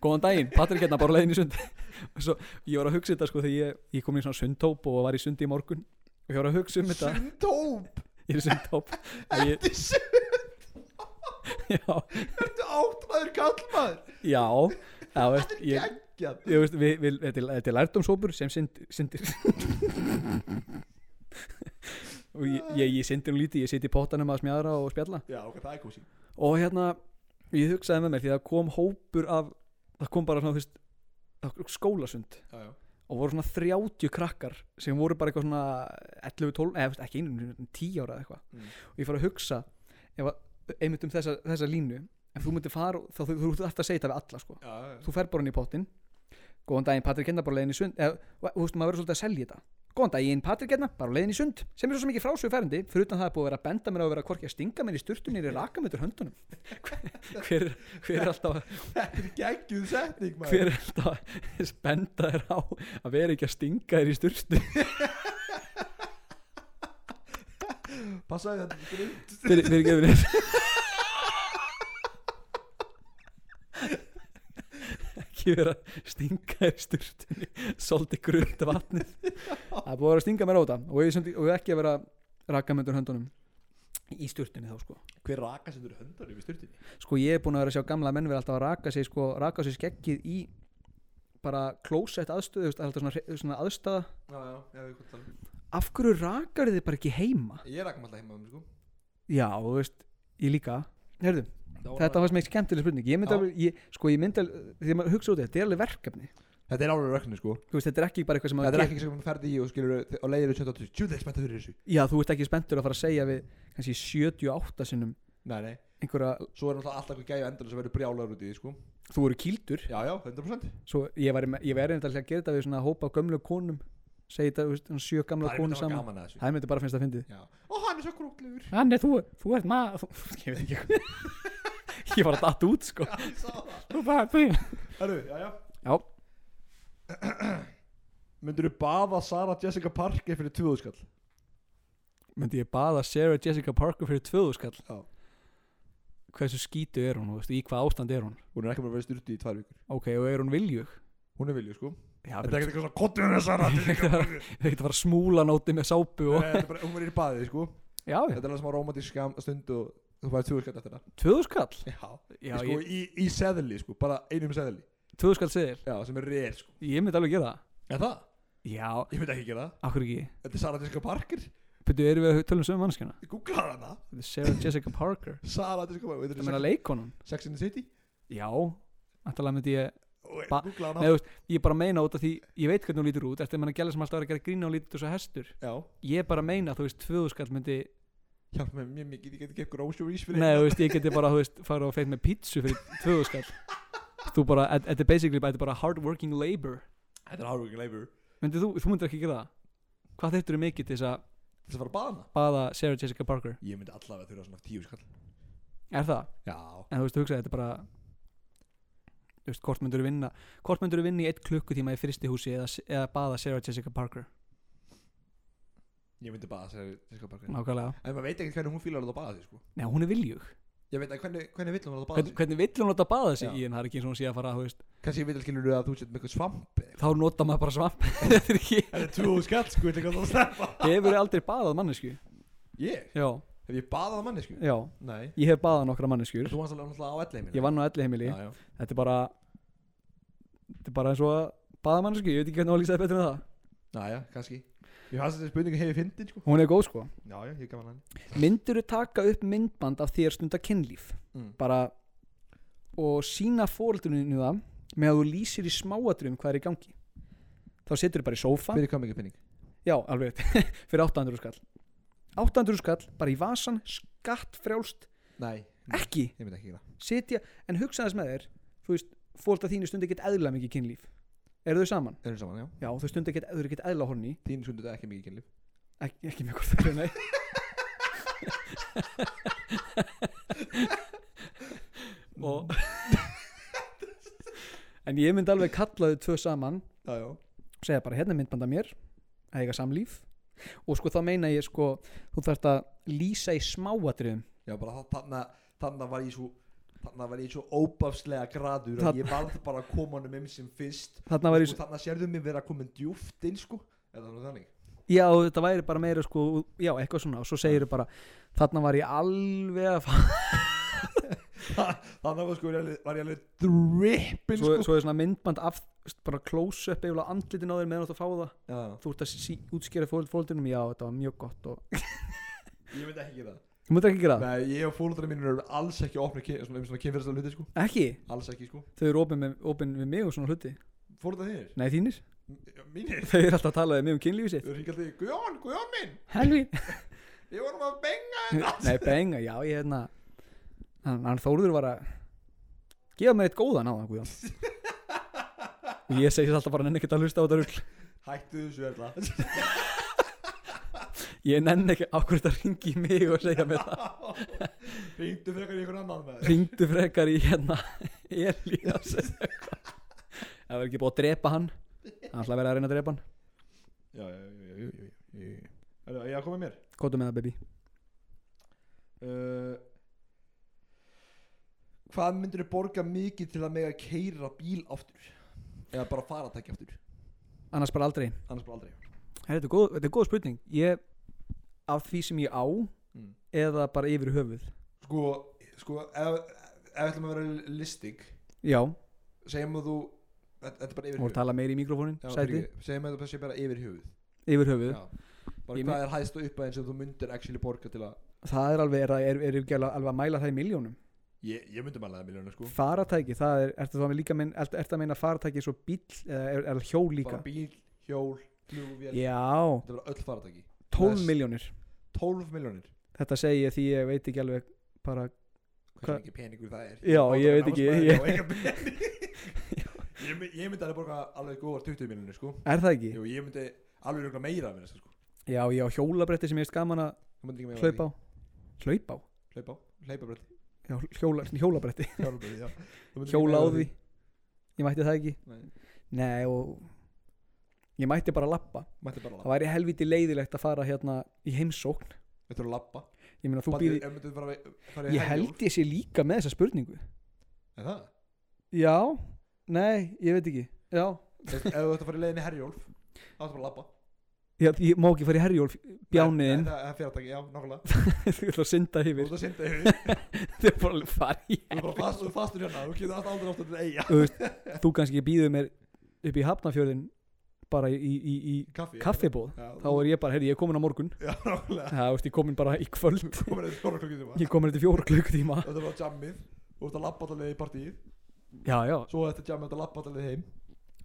Góðan daginn, Patrik hérna bara á leiðin í sundi Og svo, ég var að hugsa þetta sko þegar ég, ég kom í svona sundtóp og var í sundi í morgun Og ég var að hugsa um þetta,
Sundtóp
ég er sundtóp að ég-
Þetta er sund <laughs>
Já,
Þetta er áttmaður kallmaður
Já, já veist,
Þetta er
ég,
geggjað
ég veist, við, við, þetta er- þetta er lærdomshópur sem syndir,
<laughs>
syndir. og ég, ég, ég syndir nú lítið, ég sit í pottanum að smjara og spjalla
Já, ok, það er kósi
og hérna, ég hugsaði með mér því það kom hópur af, það kom bara svona, þú veist, það kom skólasund
Já, já
og voru svona 30 krakkar sem voru bara eitthvað svona 11, 12, eða þú veist, ekki einu 10 ára eða eitthvað
Mm.
og ég fór að hugsa ef að, einmitt um þessa, þessa línu ef þú myndir fara, þá þú, þú, þú ert alltaf að segja þetta við alla sko
Já, já, já.
þú fer bara hann í pottin góðan daginn Patrik hérna bara á leiðin í sund eða, þú veist maður verður svolítið að selja þetta góðan daginn Patrik hérna bara á leiðin í sund sem er svo sem ekki frásögu færandi fyrir utan það er búið að vera að benda mér á að vera hvorki að stinga mér í sturtunir í rakamötur höndunum <laughs> hver, hver, hver er alltaf
Þetta er geggjuð setning maður
hver er alltaf að <laughs> benda þér á að vera ekki að stinga þér í sturtu
Passaði þetta er grymt
fyrir, fyrir, fyrir, ekki vera að stinga í sturtunni svolítið grunda vatnið það er búið að vera að stinga mér á þetta og, ég samt- og ekki að vera rakamöndur höndunum í sturtunni þá sko
Hver raka sendur höndanum í styrtinni
sko ég er búin að vera að sjá gamla menn vera alltaf að raka sig sko, raka sig skeggið í bara klósett aðstöðu þú veist, alltaf svona, hre- svona aðstöða
Já, já, já, ég kom tala
af hverju rakar þið bara ekki heima
Ég rakum alltaf heima um sko
já, þú veist, ég líka herðu, Þetta fannst mér skemmtileg spurning Ég myndi
Já.
alveg, ég, sko ég myndi alveg Þegar maður hugsa út í þetta, þetta er alveg verkefni
Þetta er alveg röknir sko
Þú veist, þetta er ekki bara eitthvað sem
Þetta
maður
er
gerir
ekki sem ferði í og skilur og leiðir þú 28 Tjúlega spennta fyrir þessu
Já, þú ert ekki spenntur að fara að segja við kannski 78 sinnum
Nei, nei
einhverja,
Svo er náttúrulega alltaf eitthvað gæja endur sem verður brjálagur út í því sko
þú eru kýldur
Já, já, 100%
Svo ég væri með- ég væri reyndar að gera þetta við svona hópa af gömlu konum segja þetta, þú veist, svona sjö
Það
gamla
er
konum
myndið að
saman
gaman að þessu
Það myndi bara finnst það fyndið
Já Og hann er svo krúklegur
Hann er þú, þú ert maður <laughs> Ég veit ekki <laughs> Ég var að datta út sko
Ég sá það
Þú bara, þú
Herru, já, já
Já.
Myndur þú baða Sarah Jessica Parker fyrir 2000 skall?
Myndi ég baða Sarah Jessica Parker fyrir tvöðu skall
Já.
Hversu skítu er hún, þú veist, í hvað ástand er hún
Hún er ekki bara verið styrti í tvær vikur
Ok, og er hún <laughs> viljug
Hún er vilju sko
Já,
Þetta er ekkert eitthvað svona kottur hennar Sarah <laughs> Jessica Parker Nei,
Það er Eh. ekkert að fara að smúla nóti með sápu og...
þetta er bara- Hún verið í baðið sko
Já,
Þetta er alveg smá romantísk skam- stund og þú færið 20 skall eftir það
tvöðu skall
Já
Já,
sko,
ég,
í, í seðli sko, bara einum seðli
tvöðu skall segir
já, sem er reyr sko.
Ég myndi alveg gera það
en það,
Já,
ég myndi ekki gera það
akkur ekki
þetta er Sara Jessica Parker,
Pötu, erum við að tölum sömu mannskjana
ég googlaði hana
Þetta er Sarah Jessica Parker
Sara Jessica Parker,
Það
veitur
meina
þú
leikonun
Sex in the City
Já, antalega myndi ég
og
Ba-
googlaði hana
Nei, þú veist, ég bara meina út af því ég veit hvernig hún lítur út eftir að manna gæla sem alltaf er að gera grína og lítur svo hestur
já,
ég bara meina að þú veist tvöðuskall myndi
hjálp mér mjög mikið, ég geti gett groceries fyrir hérna.
Nei, þú veist, ég geti bara, þú veist, fara og feitt með pítsu fyrir tvöðuskall Þú bara, þetta þetta er basically bara, þetta er bara hard working labor
þetta er hardworking labor
Myndi þú, þú myndir ekki gera það Hvað þurftur mikið til þess að
þess að fara að baða hana
baða Sarah Jessica Parker?
ég myndi allavega þurfa svona tíu skall
Er það?
já,
En þú veist, hugsaði, þetta er bara Þú veist, hvort myndur vinna Hvort myndur vinna í eitt klukkutíma í fristihúsi eða, eða baða Sarah Jessica Parker?
ég myndi baða Sara Jessica Parker
Nákvæmlega
en maður veit ekki hvernig hún fílar að láta baða sig sko.
Nei, hún er viljug
ég veit ekki hvernig, hvernig vill hún að láta baða
hvernig,
sig
hvernig vill hún láta baða sig
Já.
í en það er ekki eins og hún sé að fara þú veist,
kannski ég vil skilur þú að þú sett með eitthvað svamp eða eitthvað.
þá nota maður bara svamp þetta er ekki <laughs>
þetta er 20 skall sko, ég vil ekki að sleppa
hefur aldrei baðað mannesku
ég,
já,
hef ég baðað manni sko
já,
nei
ég hef baðað nokkra manneskur
Þú varst alveg náttúrulega á elleiminu
ég vann á elli heimili,
já, já.
þetta er bara þetta er bara eins og að baða mannesku ég veit ekki hvernig hún lýsaði betur en það
Já, já, kannski Ég fannst þessi spurningu hefur fyndin sko
hún er góð sko,
Já, já, ég gaman hann
myndur þú taka upp myndband af þér stunda kynlíf
mm.
bara og sína fóreldruninu það með að þú lýsir í smáatrum hvað er í gangi þá setur þú bara í sófa
Fyrir hvað mikið penning?
Já, alveg rétt. <laughs> Fyrir 800 skall 800 skall, bara í vasan skatt frjálst,
Nei,
ekki
ég myndi ekki gera
sitja, en hugsa þess með þér þú veist, fólta þínu stundi ekkert eðla mikið kynlíf eru þau saman?
Erum saman, já
Já, þau stundi ekkert, þau eru ekkert eðla horni
Þín stundu þetta ekki mikið kynlíf
Ek, ekki með hvort þau nei og en ég myndi alveg kalla þau tvö saman
Já, já
og segja bara hérna er myndband af mér að eiga samlíf og sko þá meina ég sko þú þarft að lýsa í smáatriðum
Já, bara þa- þarna, þarna var ég svo Þarna var ég svo óbafslega gradur
Þarna-
að Ég varð bara að koma honum um sem fyrst
þarna var ég
Og þarna sérðu mig vera komin djúft inn sko Eða þannig þannig
já þetta væri bara meira sko já eitthvað svona og svo segir þau bara þarna var ég alveg að fá
Þannig var sko, var ég alveg- var ég alveg drippin
svo,
sko
svo er svona myndband af bara close up eiginlega andlitin á þér meðan þú ert að fá það
Já, já.
þú ert að sí, útskýra fólkdunum já þetta var mjög gott og
Ég myndi ekki gera það
þú mútur ekki gera það
Nei, ég og fólundra mínir eru alls ekki opni Svona um svona kynferðislega hluti sko
ekki
Alls ekki sko
þau eru opin, með, opin við mig og svona hluti
Fórða þínir?
nei þínir <laughs>
M- Mínir?
þau eru alltaf að tala við mig um kynlífið sitt
Þau ringi alltaf í Guðjón, Guðjón minn
helvi
Við vorum að benga
<laughs> Nei, benga, já, ég hérna hann, hann Þórður var að gefa mér eitt góðan á það, Guðjón og ég segist alltaf bara nenni ekkert að hlusta á þetta rugl
Hættu þessu erla
ég nenni ekki á hverju þetta ringi í mig og segja mér það
Ringdu frekar í einhvern annan með
ringdu frekar í hérna <laughs> Elías eða eitthvað. ef það er ekki búið að drepa hann hann ætla að vera að reyna að drepa hann
Já, já, já, já, já, já, já. Er það, ég að koma með mér
kóta með það, baby
uh, Hvað myndirðu borga mikið til að mega keira bíl aftur? Eða bara fara að tekja aftur?
annars bara aldrei
Annars bara aldrei
Her, þetta, er góð, þetta er góð spurning ég, af því sem ég á
mm.
eða bara yfir höfuð
Sko, sko Ef ef við ætlum að vera listig
já,
Segjum að þú Þetta þetta er bara yfir
og tala meir í mikrofónin
Já,
sæti,
fyrirgefðu. Segjum að þú sé bara yfir höfuð
yfir höfuð
Já. bara
Ég
hvað er hæðst og uppæðin sem þú myndir actually borga til að
það er alveg, er, er, er ekki alveg alveg að mæla það í miljónum
Ég, ég myndi maður að miljónu sko
faratæki, það er, ertu þá að líka minn, er, ertu að meina faratæki svo bíll eða er, er hjól líka?
Bara bíl, hjól, flugvél
Já,
Þetta var öll faratæki
12
Bless.
miljónir
12 miljónir
þetta segi ég því ég veit ekki alveg bara,
Hvað
Hva-
er ekki peningur það er
Já, ég veit ekki, ég-
Ég,
<laughs>
ég, my- ég myndi alveg borga alveg góðar 20 miljónir sko
er það ekki?
Jú, ég myndi alveg röglega meira að minna sko
Já, ég á hjólabretti sem ég veist gaman að
Þú myndi líka meira
hlaupa á Hlaupa á?
Hlaupa á, hlaupa bretti
Já, hjóla, hjólabretti,
Hjólabretti, já Þú myndir ekki
hjóla á
meira
því Ég mætti það ekki
Nei,
Nei, og ég mætti bara lappa
mætti bara
Það
lappa
væri helviti leiðilegt að fara hérna í heimsókn
Þetta eru lappa
Ég meina, þú
Baddi,
býði
ef myndir fara, fara í
Ég
Herjólf-
held ég sé líka með þessa spurningu
Er það?
Já, nei, ég veit ekki Já,
Ef ef þú ætti að fara í leiðinni í Herjólf þá ætti bara að lappa
Já, því ég má ekki fara í herjólf Bjániðin,
Nei, Það það er fyrirtæki, já, nákvæmlega
<laughs> þú ætla að synda
Þú
yfir
ert að synda yfir Þú
Þau
<laughs>
bara alveg fara í
ert bara fast, þú ert fastur hérna Þú getur alltaf aldrei aftur til eiga
Þú veist, Þú kannski býður mér upp í Hafnafjörðin bara í, í, í,
Kaffi
í kaffibóð
Já,
Þá er ég bara, heyrði, ég er komin á morgun
Já, nákvæmlega
Það, veist, ég er komin bara í kvöld
Þú komir eða stóra klokki tíma
Ég er komin þetta fjóra klukkutíma
Þetta er bara jammið Þú ert að lappa alltaf leið í partíið
Já, já,
Svo þetta jammið þetta lappa alltaf leið heim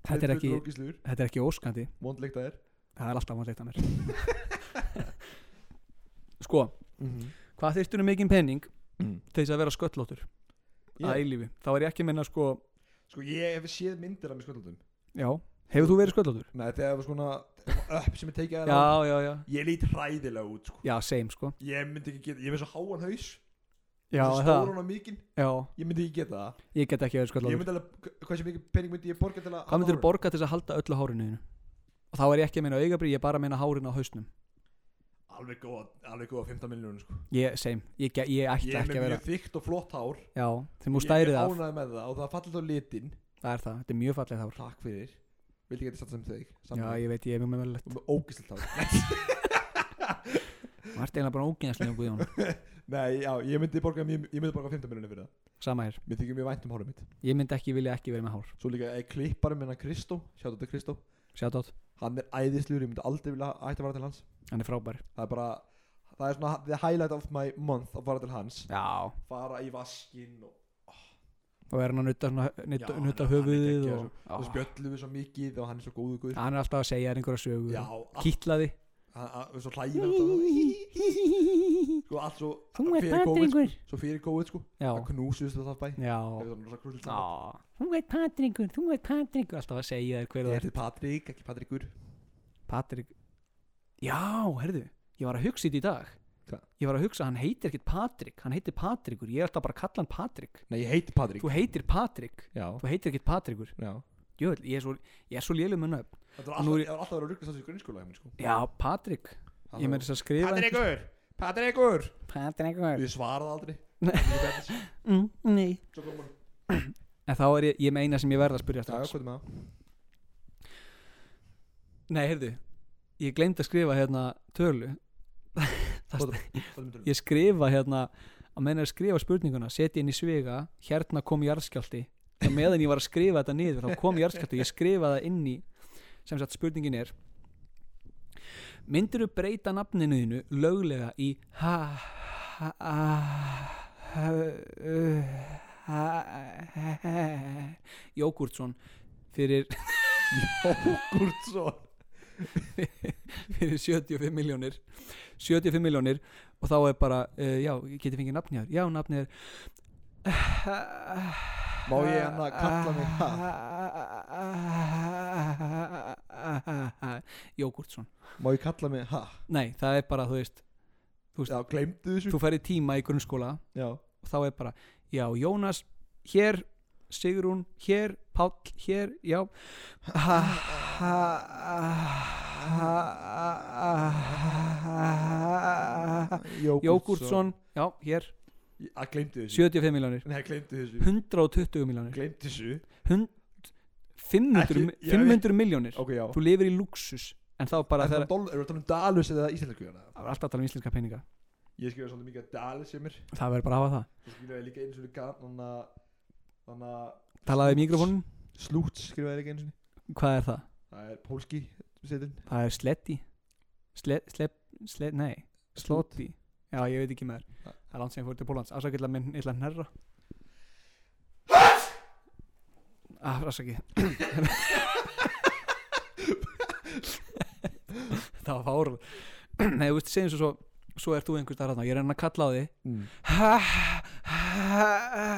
þetta er ekki,
Rókisluður,
þetta er ekki óskandi
vondleikt að er
Það er alltaf vandleikt að mér <laughs> Sko, hvað þyrstur um mikinn penning
Mm.
til þess að vera sköllóttur að eilífi? Þá er ég ekki að minna sko
Sko, ég hef séð myndir af mér sköldlundum
Já, hefur þú verið sköllóttur?
Nei, þegar það var svona upp sem ég tekið að
Já, já, já
Ég lít hræðilega út, sko
Já, same sko
Ég myndi ekki geta, ég með svo háan haus
Já,
Svo
það,
stóran og mikinn
já,
Ég myndi ekki geta það
ég get ekki verið
Ég
sköllóttur
myndi alveg, hversu mikið pening myndi ég borga til að
Hvað myndir
að-
borga til þess að halda öllu hárinu þínu? Og þá er ég ekki að meina augabrí, ég er bara að meina hárin á hausnum
Alveg góða, alveg góða 15 miljónum sko
Ég, same, ég, ge- ég ætti
Ég er
ekki
með
að vera
mjög þykkt og flott hár
Já, þegar þú
Ég
stærið
er
af,
ánægð með það og það fallit á litin
það er það, þetta er mjög fallið hár
Takk fyrir Vildi ekki að satt sem þig
Já, ég veit, ég er mjög með verið
Og með ógislegt hár <laughs>
Marta eiginlega bara ógeðslega um Guðjón
<laughs> Nei, já, ég myndi borga, ég, ég myndi borga 15 miljónum fyrir það
Sama hér,
Mér þykir mjög vænt um hárið mitt
ég myndi ekki vilja ekki verið með hár
Svo líka eh, klipparinn minna Kristó Sjáttu þetta Kristó
Shoutout,
Hann er æðislugur, ég myndi aldrei vilja ætti að fara til hans
hann er frábær
Það er bara Það er svona the highlight of my month að fara til hans
Já,
Fara í vaskinn og
og er hann að nutta, svona-
Já,
nutta,
hann-
nutta
hann er
höfuðið
geggjaður
og,
Svo
og,
spjöllum við svo mikið og hann er svo góðu guður
Hann er alltaf að segja þér einhverja sögu
Já,
og
allt
Kitla því
hann- hann- og svo hlægir alltaf sko allt svo fyrir COVID sko,
Patringur
svo fyrir COVID sko
Já,
það knúsist þetta bæ
já
það er rosa krúllið saman.
Á, Þú ert Patringur, þú ert Patringur Alltaf að segja þér hver
ég
þú
er
ert
til Patrik ekki Patrikur
Patrik Já, herðu, ég var að hugsa þetta í dag
Hvað?
Ég var að hugsa, hann heitir ekkert Patrik Hann heitir Patrikur, ég er alltaf bara að kalla hann Patrik
nei ég heiti Patrik
Þú heitir Patrik,
já
þú heitir ekkert Patrikur
já
Jöfell, ég er svo, ég er svo lélum með nöfn
það var
Og nú
alltaf
er-
það var alltaf að vera rugglast á þessu grunnskóla heim, sko.
Já, Patrik
Það
Ég
var-
með þess að skrifa
Patrikur Patrikur
Patrikur
ég svaraði aldrei
Nei.
Ég-
mm, Nei
svo kom hann
En þá er ég, ég meina sem ég verð að spyrja
já
strax
hvað er með það
Nei, heyrðu, ég glemd að skrifa hérna tölu <laughs> Það
Hvað- hvað er með tölum?
Ég skrifa hérna að menna að skrifa spurninguna setja inn í svega, hérna kom jarðskjálti og meðan ég var að skrifa þetta niður þá kom jarðskjálti og ég skrifa það inn í sem sagt spurningin er myndirðu breyta nafninu þínu löglega í ha ha ha ha ha ha ha Jógurtsson fyrir
Jógúrtsson
fyrir 75 miljónir 75 miljónir og þá er bara, uh, já, geti fengið nafni hér já, nafni er
Má ég hann að kalla mig það?
<laughs> Jógurtsson
Má ég kalla mig ha?
nei, það er bara, þú veist,
Já, gleymdu þessu
þú færi tíma í grunnskóla
Já,
og þá er bara, já, Jónas hér, Sigrún hér Páll hér, já Jógurtsson já, hér,
Að gleymdu þessu
75 miljónir
Nei, gleymdu þessu
<laughs> 120 miljónir
Gleymdu þessu
Hund- 500, mi-
Ekki- já,
500 miljónir
Ok, já
þú lifir í luxus en þá bara
Er það
þegar
doll- erum við að tala um dalus eða íslensku hérna?
það var alltaf að tala um íslenska peninga
Ég skrifa svolítið mikið að dalus sem er
það verður bara að hafa það
Svo skrifa ég líka eins og líka Þannig að Þannig að
talaði í mikrofonin,
Slúts skrifa ég líka eins og
hvað er það?
Það er pólski setin
það er sletti sle, sle, sle, nei, sloti já ég veit ekki með það er langt sem ég fór til Pólans afsakillega minn illa hnerra ah,
<laughs>
afsaki það var fár <clears throat> nei, þú veist, segjum svo svo svo ert þú einhvers þar aðna, ég er enn að kalla á þig
Mm. Þú
<laughs>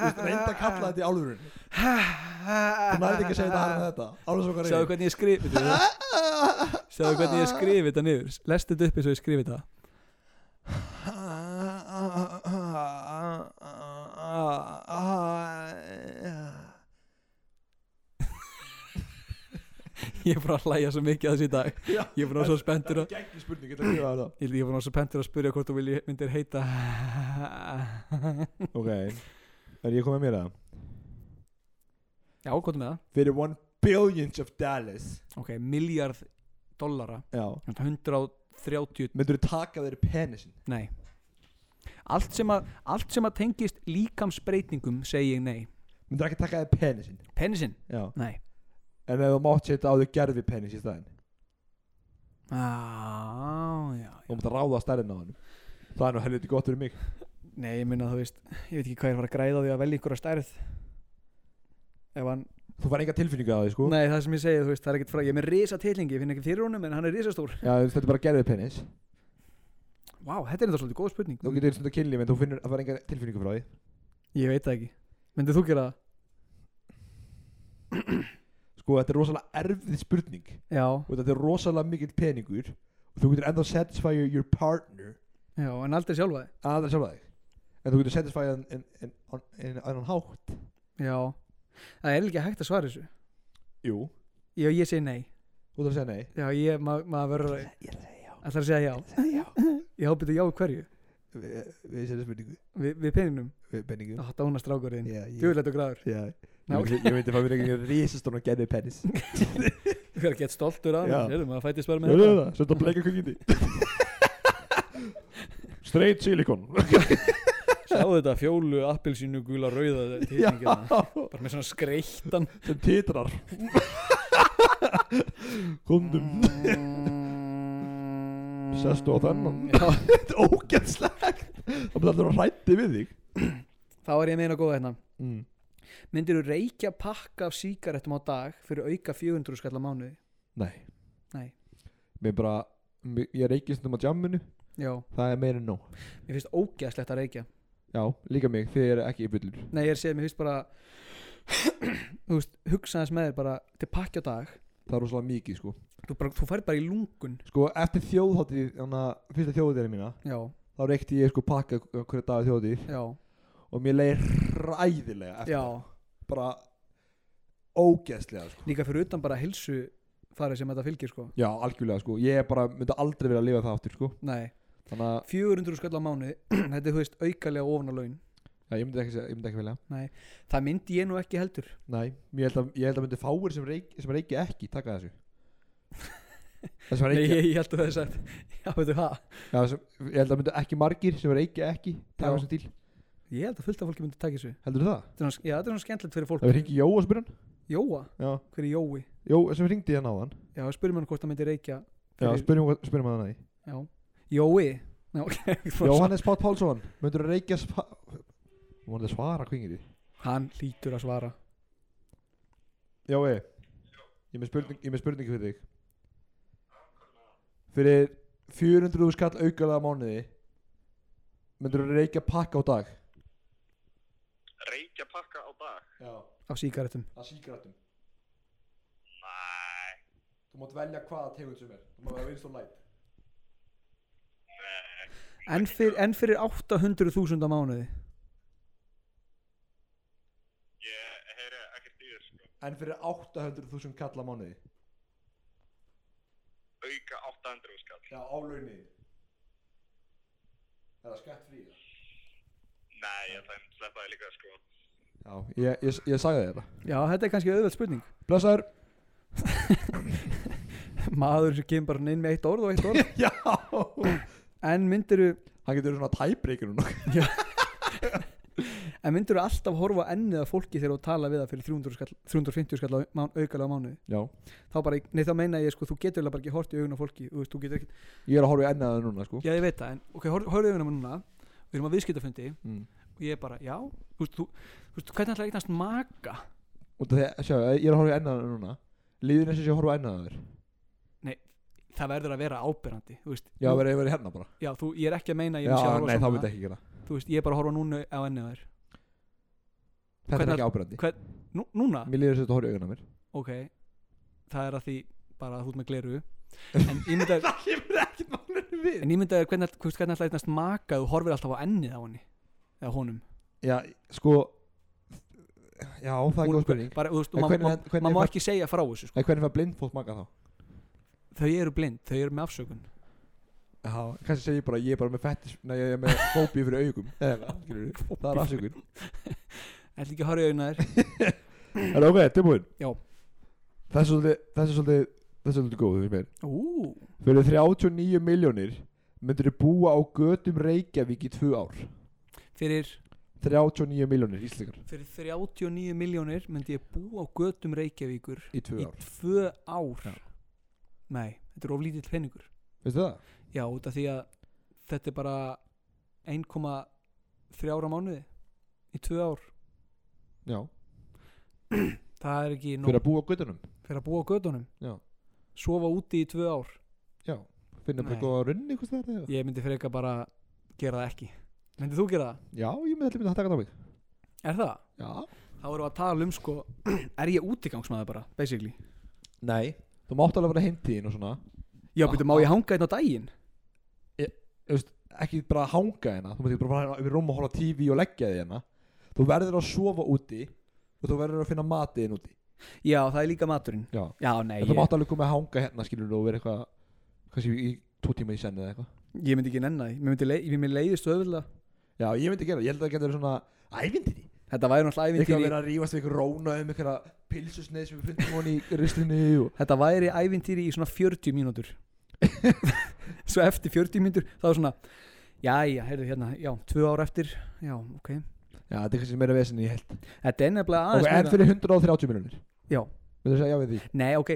veist, reynda að kalla
Sjáðu
þetta í álurinn Þú næði ekki að segja þetta harðan en þetta Álur svo hvað reynir
hvernig ég skrif <laughs> Veitu það? Sjáðu hvernig ég skrif þetta niður Lestu þetta upp eins og ég skrif <laughs> þetta Ég er bara að hlæja svo mikið að þessi í dag
Já,
Ég er bara svo spenntur að
Þetta er gegn spurning, þetta er mjög
<laughs>
að það
Ég ég er bara svo spenntur að spyrja hvort þú vilji- myndir heita
Ok, er ég komið mér að
<laughs> Já, gott með það
Fyrir one billions of dollars
Ok, miljard dollara
Já
130,
Myndur þú taka þeirri penisin?
nei Allt sem að, allt sem að tengist líkamsbreytingum segi ég nei
Myndur ekki taka þeirri penisin?
Penisinn,
Já
nei
En ef þú mátt setja á þau gerfi penis í staðinn
Á, já, já
Þú mátt ráða stærðin á hann Það er nú helviti gott fyrir mig
Nei, ég minna þú veist Ég veit ekki hvað ég var að græða á því að velja ykkur að stærð Ef hann
Þú fær enga tilfinningu á því sko
Nei, það sem ég segi, þú veist, það er ekkert frá Ég er með risa tilhingi, ég finn ekki fyrir honum En hann er risastór
Já, þetta er bara gerfi penis
Vá, þetta er þetta svolítið góð spurning
Þú getur stundið að kynlíf en þú finnur að fara enga tilfinningu frá því
Ég veit það ekki Myndið þú gera það?
Sko, þetta er rosalega erfið spurning
Já,
og þetta er rosalega mikill peningur og þú getur enda að satisfy your partner
já, en aldrei sjálfa þig
aðra sjálfa þig en þú getur satisfy hann en, en, en, en, en hann hátt
Já, það er ekki hægt að svara þessu
Jú,
Já, ég segi nei
þú þarf að segja nei
Já, ég, ma maður verður að
Ég ætla að segja já
Það að segja já
Já,
Ég hópið þetta já við hverju
við, við séum spurningu
Við, við peningnum
við penningu
Ó, dána strákurinn
Já,
Þú
ég,
vil þetta gráður
já.
Ná,
Ég, myndi, ég myndi fá mér einhvern risastóna gerði penis
Þú verður að geta stoltur af
Já.
mér Heyrðu, maður fættist
Já,
bara með
já,
þetta
já, Svolítið að bleika kukindi Straight silikon
Sjáðu þetta fjólu, appelsínu, gula, rauða þetta er
Já,
titringina. Bara með svona skreittan
sem titrar Kondum
Mm.
Sestu á þennan.
Já,
Þetta er ógæðslegt Það byrði allir að hrætti við þig
Þá er ég meina góða hérna
mm.
Myndir þú reykja pakka af sígarettum á dag fyrir auka 400 skall á mánuði?
Nei
Nei.
Mér bara mér, Ég reykist um á jamminu
Já,
Það er meira en nóg
mér finnst ógeðslegt að reykja
Já, líka mig Þið eru ekki í bullur
Nei, ég er að segja, mér finnst bara Þú veist, hugsaðis með þér bara til pakki á dag
Það er rosalega mikið sko
Þú, bara, þú fær bara í lungun
Sko eftir þjóðháttið Þannig að fyrsta þjóðháttið mína
Já,
Þá reykti ég sko pakka hverja dag þjóðháttið
já,
Og mér leið ræðilega eftir
já
það. Bara ógæðslega sko
Líka fyrir utan bara hilsu farið sem þetta fylgir sko
Já, algjörlega sko Ég bara myndi aldrei vilja lifa það aftur sko
Nei,
Þannig að
400 skall á mánuði <clears throat> Þetta er, þú veist, aukalega ofan á laun
já, ég, myndi ekki, segja- ég myndi ekki vilja
Það myndi ég nú ekki heldur
Nei, ég held að, ég held að myndi fáir sem, reik, sem reiki ekki taka <laughs> þessu Það sem
Nei,
reiki
ég, ég held að það er sagt <laughs> Já, veitu hvað
já, sem, Ég held að myndi ekki margir sem reiki ekki taka
Já.
þessu til
Ég held að fullt af fólki myndi taka þessu
Heldur það?
Þetta er svona- Já, þetta er svona skemmtilegt fyrir fólk
Það við ringi Jó að spyrja hann
Jóa,
Já,
hver er Jói?
Jó sem hérna ringdi hann á hann
Já, spyrjum hann hvort það myndi reykja
Já,
fyrir-
spyrjum, hvað- spyrjum hann að því
Já, Jói Ná, <laughs> ok, þú var
Jóhannes Pátt Pálsson, myndur að reikja spa... Hún var að svara kvingir því
svo- Hann lítur að svara
Já, ég Ég er með spurning, ég er með spurningu fyrir þig Fyrir 400 skall aukalega mánuði myndur að reikja pakka á dag
reykja pakka á dag?
Já,
Af sígarettum
að síkratum
Nei,
Þú mátt velja hvaða tegund sem er Þú mátt vera vinst og light
nei,
En, fyr, en fyrir 800.000 á mánuði
ég heyri ekkert í þér sko.
En fyrir 800.000 kalla mánuði
Auka sko. 800 skall.
Já, álaunin Það er skatt frí
Nei, ég ætla að sleppa það líka sko.
Já, ég, ég, ég sagði þér það
Já, þetta er kannski auðveld spurning <laughs>
Blessaður
Maður sem kemur bara inn með eitt orð og eitt
<laughs>
orð
Já Hann
En myndiru
getur verið svona tæbreykir núna
En myndiru alltaf horfa á ennið af fólki þegar þú tala við það fyrir 300 skall, 350 skall á mán, aukalega á mánuði
<laughs> Já
Þá bara, nei þá meina ég sko, þú getur eiginlega bara ekki hort í augun á fólki Þú veist, þú getur ekki
Ég er að horfa í ennaðu núna sko
Já, ég veit það, en ok, horfðu augun á mér núna Við erum að viðskiptafundi
mm.
og ég bara, já, þú veist, þú, þú veist, hvernig ætlaði eignast maka
Út af því að, sjá, ég er að horfa í ennaðar núna Líður eins og sé að horfa á ennaðar
það verður að vera ábyrrandi þú veist,
Já, verið verið hérna bara
já þú, ég er ekki að meina að
Já,
ég sé að horfa
nei,
á
þá
svona.
myndi ekki hérna. gera
þú veist, ég er bara að horfa núna á ennið þær
Þetta er
Hvernig-
ekki ábyrgandi
hver- Nú, núna,
Mér líður eins og þetta horfa í auguna á mér
ok það er að því bara að þú ert með gleru
<laughs>
en ég myndi að
Það kemur ekkert málunum við
En ég myndi að hvernig, hvernig, hvernig alltaf einnast maka þú horfir alltaf á ennið á henni eða honum
Já, sko Já, það er góð spurning
bara, þú veist,
En
og
hvernig-
ma- ma-
hvernig
maður má
fær-
ekki segja frá þessu sko.
En hvernig fær blind fólk maka þá?
þau eru blind, þau eru með afsökun
Já, kannski segir ég bara Ég er bara með fettis Nei, ég er með fóbíu fyrir
<laughs>
augum Eða eitthvað, skilurðu. Það er afsökun
<clears throat> ætla ekki að horfa í auðna þér
Er það ok, tilbúin?
Já.
Það er svolítið Það er svolítið Það er svolítið góð, þú veist mér
Ú,
Fyrir 39 miljónir myndir þið búa á götum Reykjavík í tvö ár
fyrir,
39 miljónir íslendingar
fyrir 39 miljónir myndi ég búa á götum Reykjavíkur
í tvö
í
ár
tvö ár
Já.
nei, þetta er oflítill peningur
Veistu það?
já, út af því að þetta er bara 1,3 ára mánuði í tvö ár
Já
það er ekki nóg
Fyrir að búa á götunum
fyrir að búa á gödunum
Já.
sofa úti í tvö ár
Já Finna bara
Nei.
góða runni hvers það er
ég myndi freka bara gera það ekki myndi þú gera það?
Já, ég myndi allir myndi að taka það á mig
er það?
Já
þá erum við að tala um sko <clears throat> er ég útigangsmaður bara basically
Nei Þú mátt alveg vera heimtíðin og svona
já betur má ég hanga einn á daginn
Ekki bara að hanga hérna Þú mátt ekki bara fara hérna yfir rúm og horfa á TV og leggja þig hérna Þú verður að sofa úti og þú verður að finna matiðin úti
já það er líka maturinn
Já
já nei
En
ég,
þú mátt alveg koma að hanga hérna skilur og vera eitthvað Kanski í tvo tíma í senn eða eitthvað
ég myndi ekki nenna því mér, myndi leið, mér leiðist öðvölda
Já, ég myndi gera, það. ég held að það getur verið svona ævindinni
þetta væri náttúrulega
Eitthvað að
ævintýri
vera að rífast við ykkur róna um einhverja pilsusneið sem við fundum hún í rislinni og...
þetta væri ævintýri í svona 40 mínútur <laughs> svo eftir 40 mínútur þá er svona já já heyrðu hérna já tvö ár eftir já ok
Já, þetta er kannski meira vesen en ég held
þetta er nefnilega
Og
aðeins
en
meira-
fyrir 130 miljonir
Já.
Myndu að segja já við því
Nei, ok,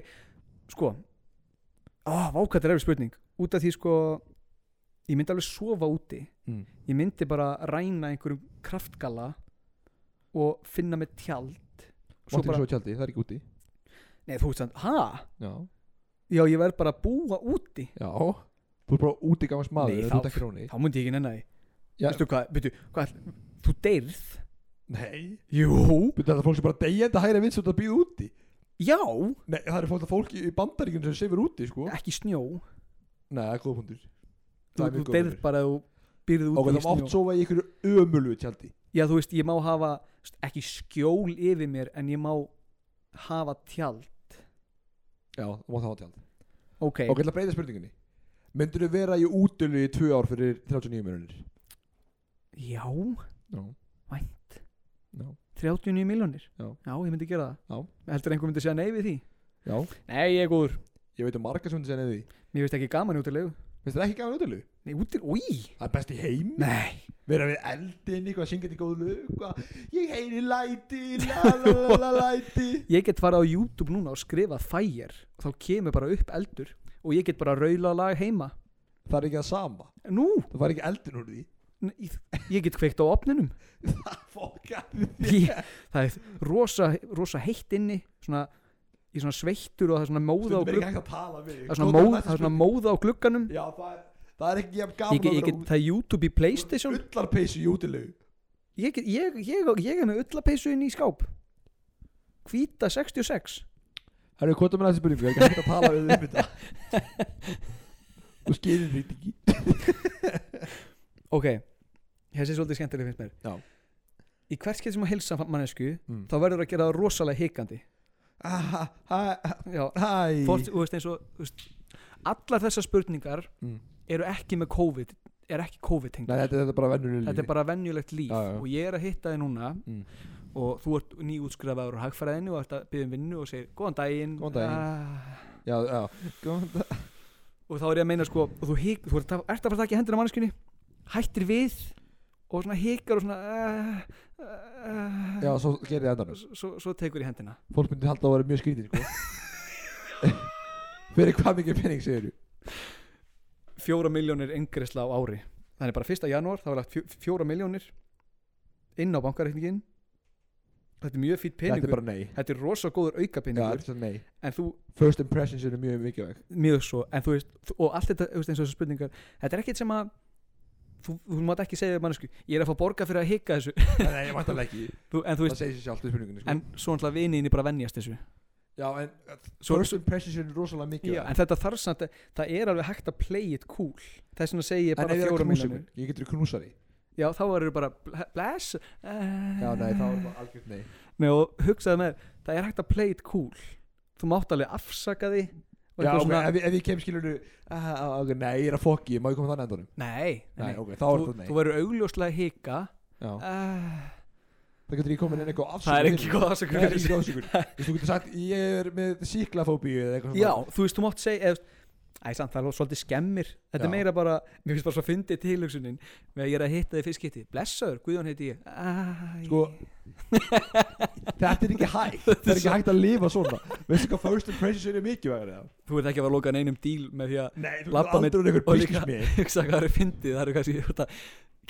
sko Ó, vákvæmt er eftir spurning Út af því sko Ég myndi alveg sofa úti
Mm.
Ég myndi bara ræna einhverjum kraftgalla Og finna með tjald
Svo bara
bara,
Svo tjaldi, það er ekki úti
Nei, þú veist þannig, ha?
Já
Já, ég verð bara að búa úti
Já Þú er bara úti gamans maður
Nei,
en
þá-
Þú ert ekki róni
Þá myndi ég ekki nenni því
Já.
Veistu hvað, veitu, hvað ætl- Þú deyrð
Nei
Jú
Myndu að það er fólk sem bara deyjandi hægri vins og það býð úti
Já,
Nei, það er fólk, fólk í bandaríkinu sem sefur úti sko Nei,
ekki snjó
það er góð punktur
Þú,
Það er
þú
mjög góð
deyrð
punktur.
bara að þú byrðið
Og
úti
það mátt sofa í ykkur ömulgu tjaldi
já þú veist ég má hafa þú veist, ekki skjól yfir mér en ég má hafa tjald
Já, það mátt hafa tjald Ok,
ok,
ég ætla að breyta spurningunni Myndur þú vera í útölu í tvö ár fyrir 39 miljonir?
já
Já
Vænt.
Já,
39 miljónir,
Já.
ég myndi gera það
Já.
heldur einhver myndi segja nei við því
já
nei ég er góður,
Ég veit um marga sem myndi segja nefði
mér finnst ekki gaman í útilegu
Finnst þér ekki gaman í útölu?
nei útil, úi,
Það er best í heim
nei
Vera við eldin, eitthvað, syngja til góð lög eitthvað. Ég heyri læti, la la la la læti
ég get farið á YouTube núna og skrifa fire og þá kemur bara upp eldur og ég get bara raula lag heima
Það er ekki það sama
nú,
Það var ekki eldin úr því <laughs>
nei, ég get kveikt á opninum
Það fokkaði því
ég, það er rosa, rosa heitt inni svona, ég er svona sveittur og það er svona móða á
Stundum er ekki hægt
glugganum
að tala við
það er svona, móð, það er svona móða á glugganum
Já, það er, það er ekki jafn
ég,
gaman
get- ég get, það er YouTube í Playstation
Ullarpeysu í útilegu
ég, get, ég, ég, ég er með ullapeysu inn í skáp hvíta 66
Herru, hvað er með næstu spurningu? Ég er ekki hægt að tala við þig um þetta Þú skilur þetta ekki
ok, þessi er svolítið skemmtileg finnst mér
Já.
í hvert skeitt sem að hilsa mannesku
Mm.
þá verður að gera það rosalega hikandi
Ah, ah, ah,
já,
Hæ
fórst, þú veist eins og þú veist, allar þessar spurningar
Mm.
eru ekki með COVID er ekki COVID
Nei,
tengdar
þetta, þetta er bara vennulega
þetta er bara venjulegt líf
Já, já.
og ég er að hitta þig núna
Mm. líf
og þú ert nýútskrifaður á hagfæraðinu og ert að byggja um vinnu og segir góðan daginn,
Góðan daginn.
Ah,
Já, já Góðan dag.
og þá er ég að meina sko og þú, hik, þú ert, að, ert að fara að taka í hendur á manneskunni hættir við og svona hikar og svona uh, uh,
Já, svo gerir ég endanum
svo, svo tekur í hendina
Fólk myndi halda að vera mjög skrítið, sko <laughs> Fyrir hvað mikið pening segir þú?
fjóra miljónir yngresla á ári þannig bara 1. janúar þá er lagt fjó- fjóra miljónir inn á bankareikningin þetta er mjög fýtt
Þetta
peningur
er bara nei
þetta er rosa góður auka
Já, þetta
peningur
er bara nei
en þú,
First impressions eru mjög
<laughs>
mikilvæg
mjög svo, en þú veist þú- og allt þetta, þú veist, eins og þessu spurningar þetta er ekkert sem að þú, þú mátt ekki segja mannesku, ég er að fá borga fyrir að hika þessu <laughs>
Nei, ég vantar ekki
þú, en þú
Það
veist,
segir sér sjálft í spurningunni sko.
en svo náttúrulega viniðinni bara venjast þessu
Já, en uh,
Svo-
first impressions eru rosalega
Já,
mikilvæg
en þetta þarf samt að, það er alveg hægt að play it cool þess vegna segi
En
ég
ef
bara
ég er að
fjóra
knúsa
miljonir
ykkur, ég getur knúsa því
já, þá eru bara bl- bless já,
Já, nei, þá er það algjörn nei
Nei, og hugsaði með, þér, það er hægt að play it cool þú mátt alveg afsaka því og
Já,
eitthvað
ok, ef, ég- ef ég kem skilur uh, okay, Nei, ég er að fokki, má ég koma þannig endanum
nei, nei,
Nei,
nei.
ok, þá er
Þú,
það nei
þú verður augljóslega að hika
Já.
uh,
Það getur ég komin inn eitthvað afsökun
það er
fyrir
ekki
því.
góð
Nei,
afsökun
það er
fyrir
ekki
því.
góðsökun Þú getur sagt, ég er með síklafóbíu eða eitthvað
já, þú veist, þú mátt segja eða, Æ, samt, það er alveg svolítið skemmir Þetta er
Já.
meira bara, mér finnst bara svo fyndið tilhugsunin með að ég er að hitta þig fyrst getið Blessaður, Guðjón heiti ég Æ,
Sko, Þetta er ekki
<laughs>
hægt Það er ekki hægt að lifa svona Veistu hvað first impressions eru mikilvægur eða?
Þú ert ekki að vera að loka neinum díl með því að <laughs>
Nei, þú getur
Labba með-
aldrei einhver
og líka-
business með
hugsa hvað það eru fyndið, það eru kannski þú ert að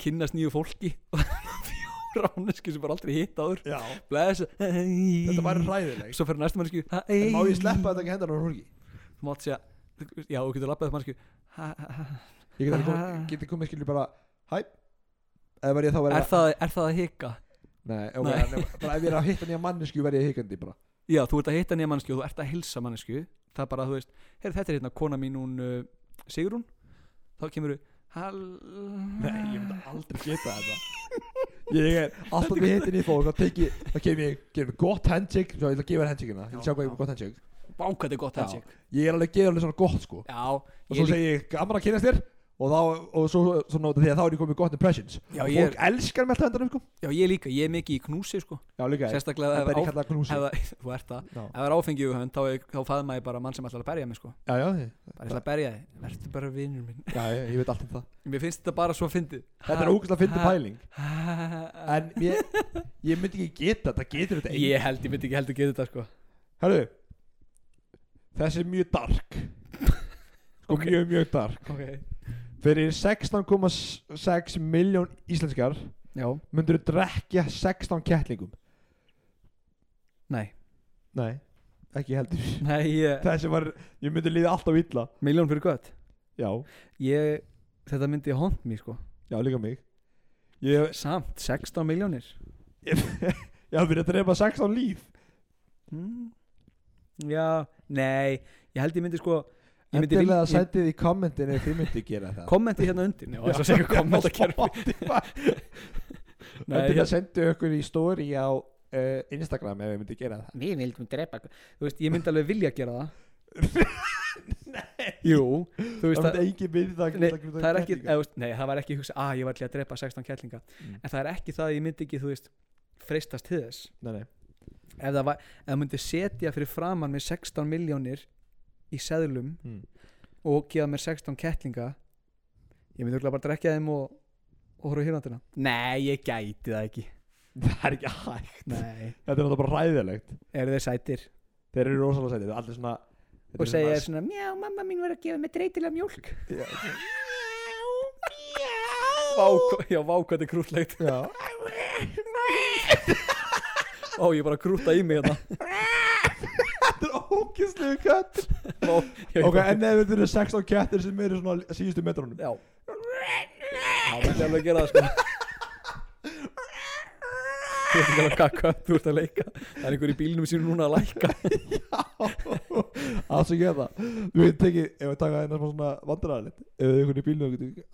kynnast nýju fólki <laughs> og fjóra manneski sem bara aldrei hitt áður
Já,
bless
þetta
Þetta
var ræðileg
Svo fyrir næstu manneski
En má ég sleppa þetta ekki hendan á fólki?
Þú mátt segja, já, þú getur labbað upp manneski Ha, ha, ha.
Ég get, kom,
Ah.
geti komið skilur bara Hæ Ef var ég þá verið
Er það, er það að hika?
Nei, ok,
Nei.
nei. bara ef ég er að hitta nýja mannesku verið ég hikandi bara
Já, þú ert að hitta nýja manneski og þú ert að hilsa manneski Það er bara, þú veist, heyrðu þetta er hérna kona mín hún uh, Sigrún Þá kemur þú
Nei, ég myndi aldrei geta þetta Ég er alltaf við hittin í fólk Þá teki, þá kem ég, gefum við gott handshake Svo ég ætla að gefa þér handshake-ina Ég vil sjá hvað ég er með gott handshake
Vákvæði gott
Já.
þessi
Ég er alveg að gefa alveg svona gott sko
Já,
Og
ég
svo
líka-
segi ég, gaman að kynast þér Og þá, og svo, svona út af því að þá er ég komið með gott impressions
Já,
Og
ég
fólk elskar með alltaf hendanum sko
já, ég líka, ég er mikið í knúsi sko
Já, líka ég
Sérstaklega
Þetta
ef
er ég
áf-
kallað knúsi
eða, <laughs> þú ert það,
Já.
ef það er áfengi í hugum þá, er- þá faðum maður bara mann sem ætlar að berja mig sko
Já, já, ég-
bara ætlar að berja þig, verður bara vinnur minn <laughs>
já, ég ég veit allt um það
mér finnst þetta bara svo fyndið
Þetta er ógæslega fyndi
ha-
pæling
pæl
En ég, ég myndi ekki geta þetta, getur þetta einu
ég held, ég myndi ekki heldur geta þetta sko
Herðu Þessi er mjög dark Sko
Ok.
mjög, mjög dark
okay.
Fyrir 16,6 miljón íslenskar
já,
myndur þú drekja 16 kettlingum
nei,
Nei, ekki heldur <laughs>
nei ég,
Þessi var, ég myndi líði alltaf illa
miljón fyrir gott
Já,
ég, þetta myndi hónd mér sko
já líka mig Ég,
samt, 16 miljónir
ég, ég hafði verið að drepa 16 líf Hmm.
mm. já, nei ég held ég myndi sko ég myndi vil-
Endilega
ég-
sætið í kommentin ef þið myndi gera það
kommenti hérna undir Nei, og þess að
<laughs>
segja kommenta <laughs> Nei, hérna-
Endilega
ég-
sendu okkur í story á uh, Instagram ef þið myndi gera það
við vildum drepa þú veist, ég myndi alveg vilja gera
<laughs>
það nei jú, þú veist
Það
að
myndi engin við það
Nei, það er
sko.
ekki, eða, þú veist, nei, það var ekki hugsa, að ég var til að drepa 16 kettlinga
Mm.
en það er ekki það að ég myndi ekki, þú veist freistast til þess
Nei, nei
ef það, var, ef það myndi setja fyrir framann með 16 miljónir í seðlum
Mm.
og gefa mér 16 kettlinga ég myndi örugglega bara drekja þeim og, og horfa hérna nei, ég gæti það ekki
Það er ekki hægt
nei,
Þetta er náttúrulega bara ræðilegt
eru þeir sætir
Þeir eru rosalega sætið, það er allir svona þetta
og
er
segja svona, mjá, mamma mín var að gefa mér dreitilega mjólk Vá, hva- já, vá, hvað þetta er krútlegt
Já,
Ó, ég er bara að krúta í mig hérna
<laughs> þetta er ókysluðu kött
Vá, já, ég
Ok,
bara-
en ef þetta eru 16 kettir sem eru svona á síðustu <laughs> metrónum
Já Það myndi alveg að gera það sko Þú ert ekki alveg kakka, þú ert að leika Það er einhver í bílnum sínum núna að læka
Það sem gera það Þú veit ekki, ef við taka eina smá svona vandræðalegt Ef þið einhvern í bílnum og getur ekki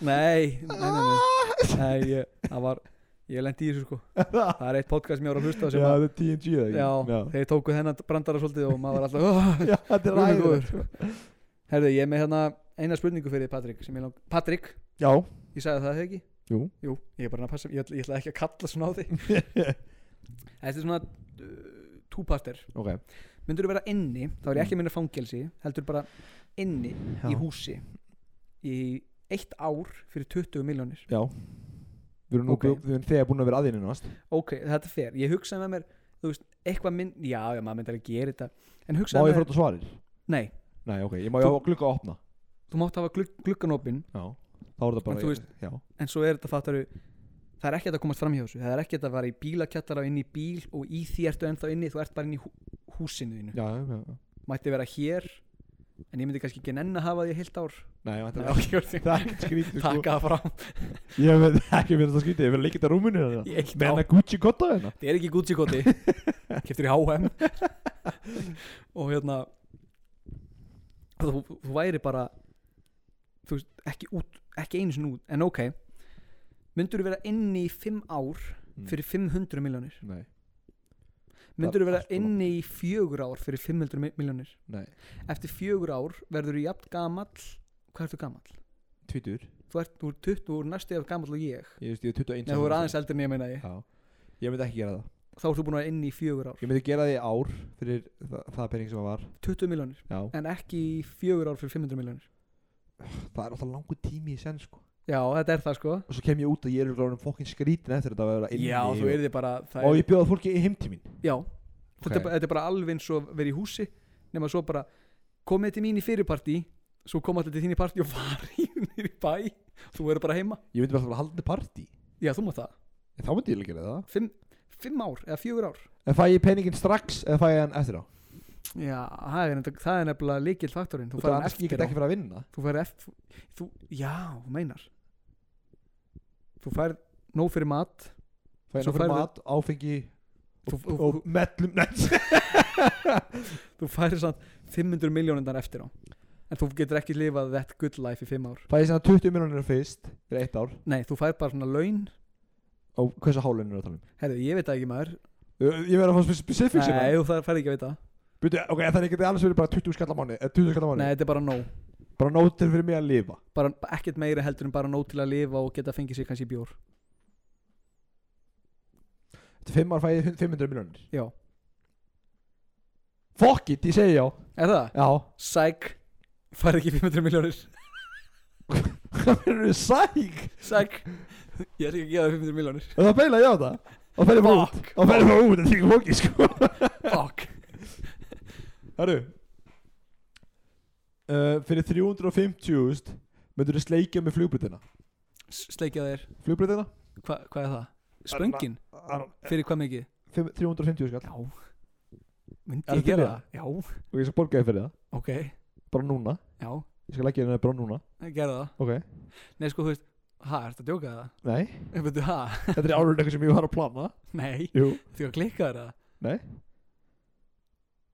Nei, nei, nei, nei, nei ég, Það var, ég lendi í þessu sko Það er eitt podcast sem ég var að
<laughs>
hlusta á
Já,
sem að
þetta er TNG eða
Já,
ekki
þeir tóku þennan brandara svolítið og maður var alltaf
Já, þetta er
Guð minn góður.
ræðilegt sko.
Herðu, ég er með hérna eina spurningu fyrir þig, Patrik sem ég lang... Patrik,
Já
ég sagði það þegar ekki?
Jú.
Jú, ég er bara að passa, ég ætla, ég ætla ekki að kalla svona á
<laughs>
þig Þetta er svona uh, túparter
Ok
myndur þú vera inni,
Mm.
þá er ég ekki að minna fangelsi heldur bara inni í húsi í eitt ár fyrir 20 miljónir
Já Við erum nú
Ok.
við erum þegar búin að vera aðeinu nást
ok, þetta er fer, ég hugsaði með mér þú veist, eitthvað minn, já, já, maður myndi alveg gera þetta en
Má
hugsaði
ég
með
fyrir þetta svarir?
nei,
Nei, ok, ég má
Þú-
ég á glugga að opna
þú mátt hafa glugg, glugganopin
Já Þá er þetta bara
En þú veist-
Já
en svo er þetta fattaru það er ekki hægt að komast fram hjá þessu það er ekki hægt að fara í bílakjallara og inn í bíl og í því ertu ennþá inni, þú ert bara inn í hú, húsinu þínu,
Já, já, já.
mætti vera hér en ég myndi kannski ekki nenn að hafa því í heilt ár
Nei, ég veit
það er ekki
<laughs>
verið
Það er ekkert skrítið sko
taka það fram
Ég veit <laughs> ekki verið það skrítið Ég verið leikit að rúminu hérna
í eitt
Með
ár,
hennar Gucci kotta hérna
það er ekki Gucci
<laughs>
koti keftur í H&M og hérna þú, þú væri bara þú veist, ekki út ekki einu sinni út, en ok myndur vera inni í 5 ár
Mm.
fyrir 500 miljónir
Nei, Það
myndur
er
vera
allt of
inni í fjögur ár fyrir 500 mi- miljónir
nei
eftir fjögur ár verður þú jafn gamall hvað ertu gamall?
Tvítur
þú ert úr 20 úr næstu eða gamall og ég
Ég veist, ég er 21
Nei, þú er aðeins eldri en ég meina ég
Já Ég myndi ekki gera það
þá ertu búin að vera inni í fjögur ár
Ég myndi gera það í ár Fyrir það, það pening sem það var
20 miljónir
Já
en ekki í fjögur ár fyrir 500 miljónir
Það er alltaf langur tími í senn sko
já þetta er það sko
Og svo kem ég út og ég er ráðum fokkin skrítin eftir þetta að vera inni
já
og-
þú er þið bara það
Og
er,
ég bjóða fólki í heimtímin
já þetta,
Ok.
er bara- þetta er bara alveg eins og verið í húsi nema svo bara komið til mín í fyrirparti svo kom allir til þín í partí og <laughs> farið nýr í bæ þú verður bara heima
Ég myndi bara alltaf halda partí
já þú maður það
En Þá myndi ég alveg gera það
fimm, fimm ár eða fjögur ár
En fæ ég peningin strax eða fæ ég hann eftir á
já, það er, nefnilega- það er nefnilega líkil faktorinn þú
Þú
færði
veist, Ég
eftir
get
á
ekki fyrir að vinna
þú færði eftir þú, já, þú meinar þú færð nóg fyrir mat
Fæ ég
Svo
náttúrulega
færðu-
mat, áfengi
þú, þú,
og
þú,
mellum Nei, <laughs>
þú færði samt 500 miljónundar eftir á en þú getur ekki lifað that good life í fimm ár
Fæ ég svona 20 miljonir fyrst fyrir eitt ár
nei, þú færð bara svona laun
og hversu hálun er það að tala um?
herðu, ég veit það ekki maður
Ö, Ég verður að fá spe- specifics
nei,
hérna
þú færð færð ekki að veit það
Býtu, ok, það er ekki alls verið bara 20 skallar mánu 20 skallar mánu
nei, þetta er bara nóg
Bara nótir fyrir mig að lifa
bara ekkert meira heldur en bara nóg til að lifa og geta fengið sér kannski bjór
Þetta fimm ár fæ ég 500 miljonir
já,
Fuck it, ég segi já
er það?
Já <laughs>
Sæk, færð ekki 500 miljónir
Það verður sæk
<laughs> Sæk Ég er ekki að gefa þér 500 miljónir
Og það beila ég á það Og fer ég bara út
Fuck.
Og fer ég bara út Það þykir fólki sko <laughs>
Fuck
Herru uh, Fyrir 350.000 Myndur þú sleikja með flugbröðina
Sleikja þér
Flugbröðina
Hva, Hvað er það? Spöngin? Fyrir hvað mikið?
350 skall
Já
Er
Myndi ég
þetta
gera
meira?
það? Já
Og ég skal borga þér fyrir það
Ok
Bara núna
Já
Ég skal leggja þér bara núna
Gerða það
Ok
Nei sko þú veist Ha, ertu að djóka það?
Nei
Ég veitu ha
Þetta er árið eitthvað sem ég var að plana
Nei
Jú
Þú að klikka þér það
Nei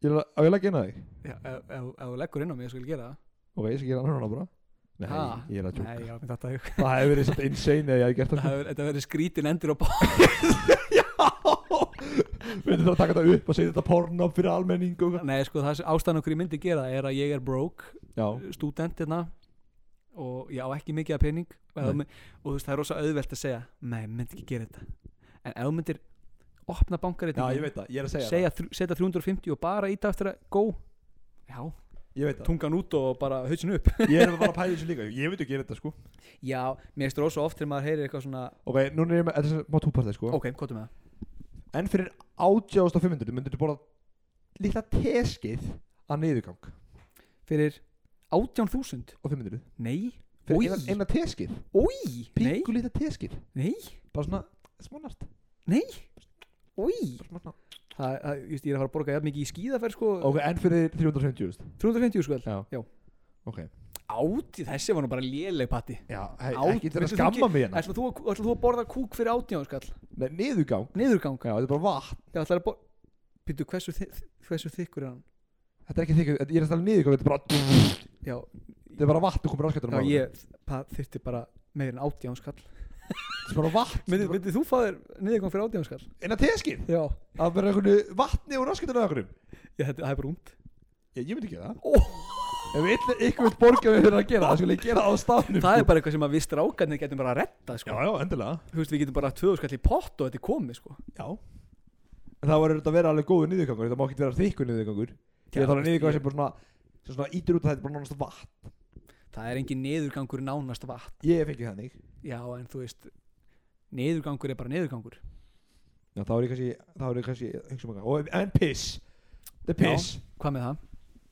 Ég la- Á ég leggja inn á þig
Já, ef, ef, ef þú leggur inn á mig ég skulle gera það
Ok, ég skal gera hann núna bara Nei,
Ha?
ég er að tjóka
Nei, já, mér þetta hefur
Það hefur verið svolítið insane eða ég hef gert það
<laughs> Það
sko.
hefur, þetta verður skrítin endur á bá <laughs>
<laughs> Við erum það að taka þetta upp og segja þetta porno fyrir almenning og
Nei sko það sem ástæðan okkur ég myndi gera er að ég er broke
Já,
stúdent hérna og ég á ekki mikið af pening og, ef þú
Nei.
mynd- og þú veist það er rosa auðvelt að segja nei, ég myndi ekki gera þetta en ef þú myndir opna
já ég
bankareitingin
veit það, ég er að segja
segja, þrjú- setja 350 og bara íta eftir að go já,
það Ég veit það,
tungan út og bara hausin upp
ég er bara að pæla í þessu líka Ég veit ekki gera þetta sko
já, mér finnst rosa oft þegar maður heyrir eitthvað svona
Ok, núna er ég með, þetta er sem- má túpartið sko
ok, hvað er með það?
En fyrir 8500 myndir þú borða litla teskið að niðurgang
fyrir 18.000?
og 500
nei, Oj.
Fyrir eina, eina teskið,
oi, nei
píku litla teskið
nei,
Bara svona smánart
oi það, það, just, ég er að fara að borga jafn mikið í skíðaferð sko,
Ok, en fyrir 350
350 sko
Já,
Já.
Ok,
átti, þessi var nú bara léleg patti
já, hei,
Á-
ekki þetta
veistu þú
skamma
ekki-
mig hérna
Ætla þú, að- ætlar þú að borða kúk fyrir átján skall?
Nei, niðurgang,
Niðurgang?
já, þetta er bara vatn
Já, ætlar að borða Býttu, hversu, þi hversu þykkur er hann?
Þetta er ekki þykir, ég er að tala um niðurgang, þetta er bara
Já,
Þetta er bara vatn, þú komur um áskættunum
já ég það þyrfti bara meira en átján skall
Þetta er bara vatn
Myndið
þetta er
myndi þú fá þér niðurgang fyrir átján skall?
bara- Eina teskið
Já
Að vera einhverju vatni úr áskættunum eða einhverjum
Ég, þetta, Það er bara únd
Ég, ég myndi gera það
Ó.
Ef eitthvað ykkur vil borga mig fyrir að gera það, skulle ég gera það á staðnum
Það er
sko.
bara eitthvað sem að við strákarnir getum bara að retta sko.
Já, já, endilega
Þú veist, við getum bara tvöðu skall í pott og þetta er komið sko.
Já En það verður þetta að vera alveg góður niðurgangur Þetta má ekki vera þykkur niðurgangur Ég er
Já,
að tala um
veist,
niðurgangur
ég-
sem bara svona sem svona ítur út að þetta er bara nánast vatn
Það er engin niðurgangur nánast vatn
Ég hef fengið þannig
Já, en þú veist Niðurgangur er bara niðurgangur
Já, þá er ég kannski þá er ég kannski hugsa um eitthvað Og- En piss The
Já.
piss
Hvað með það?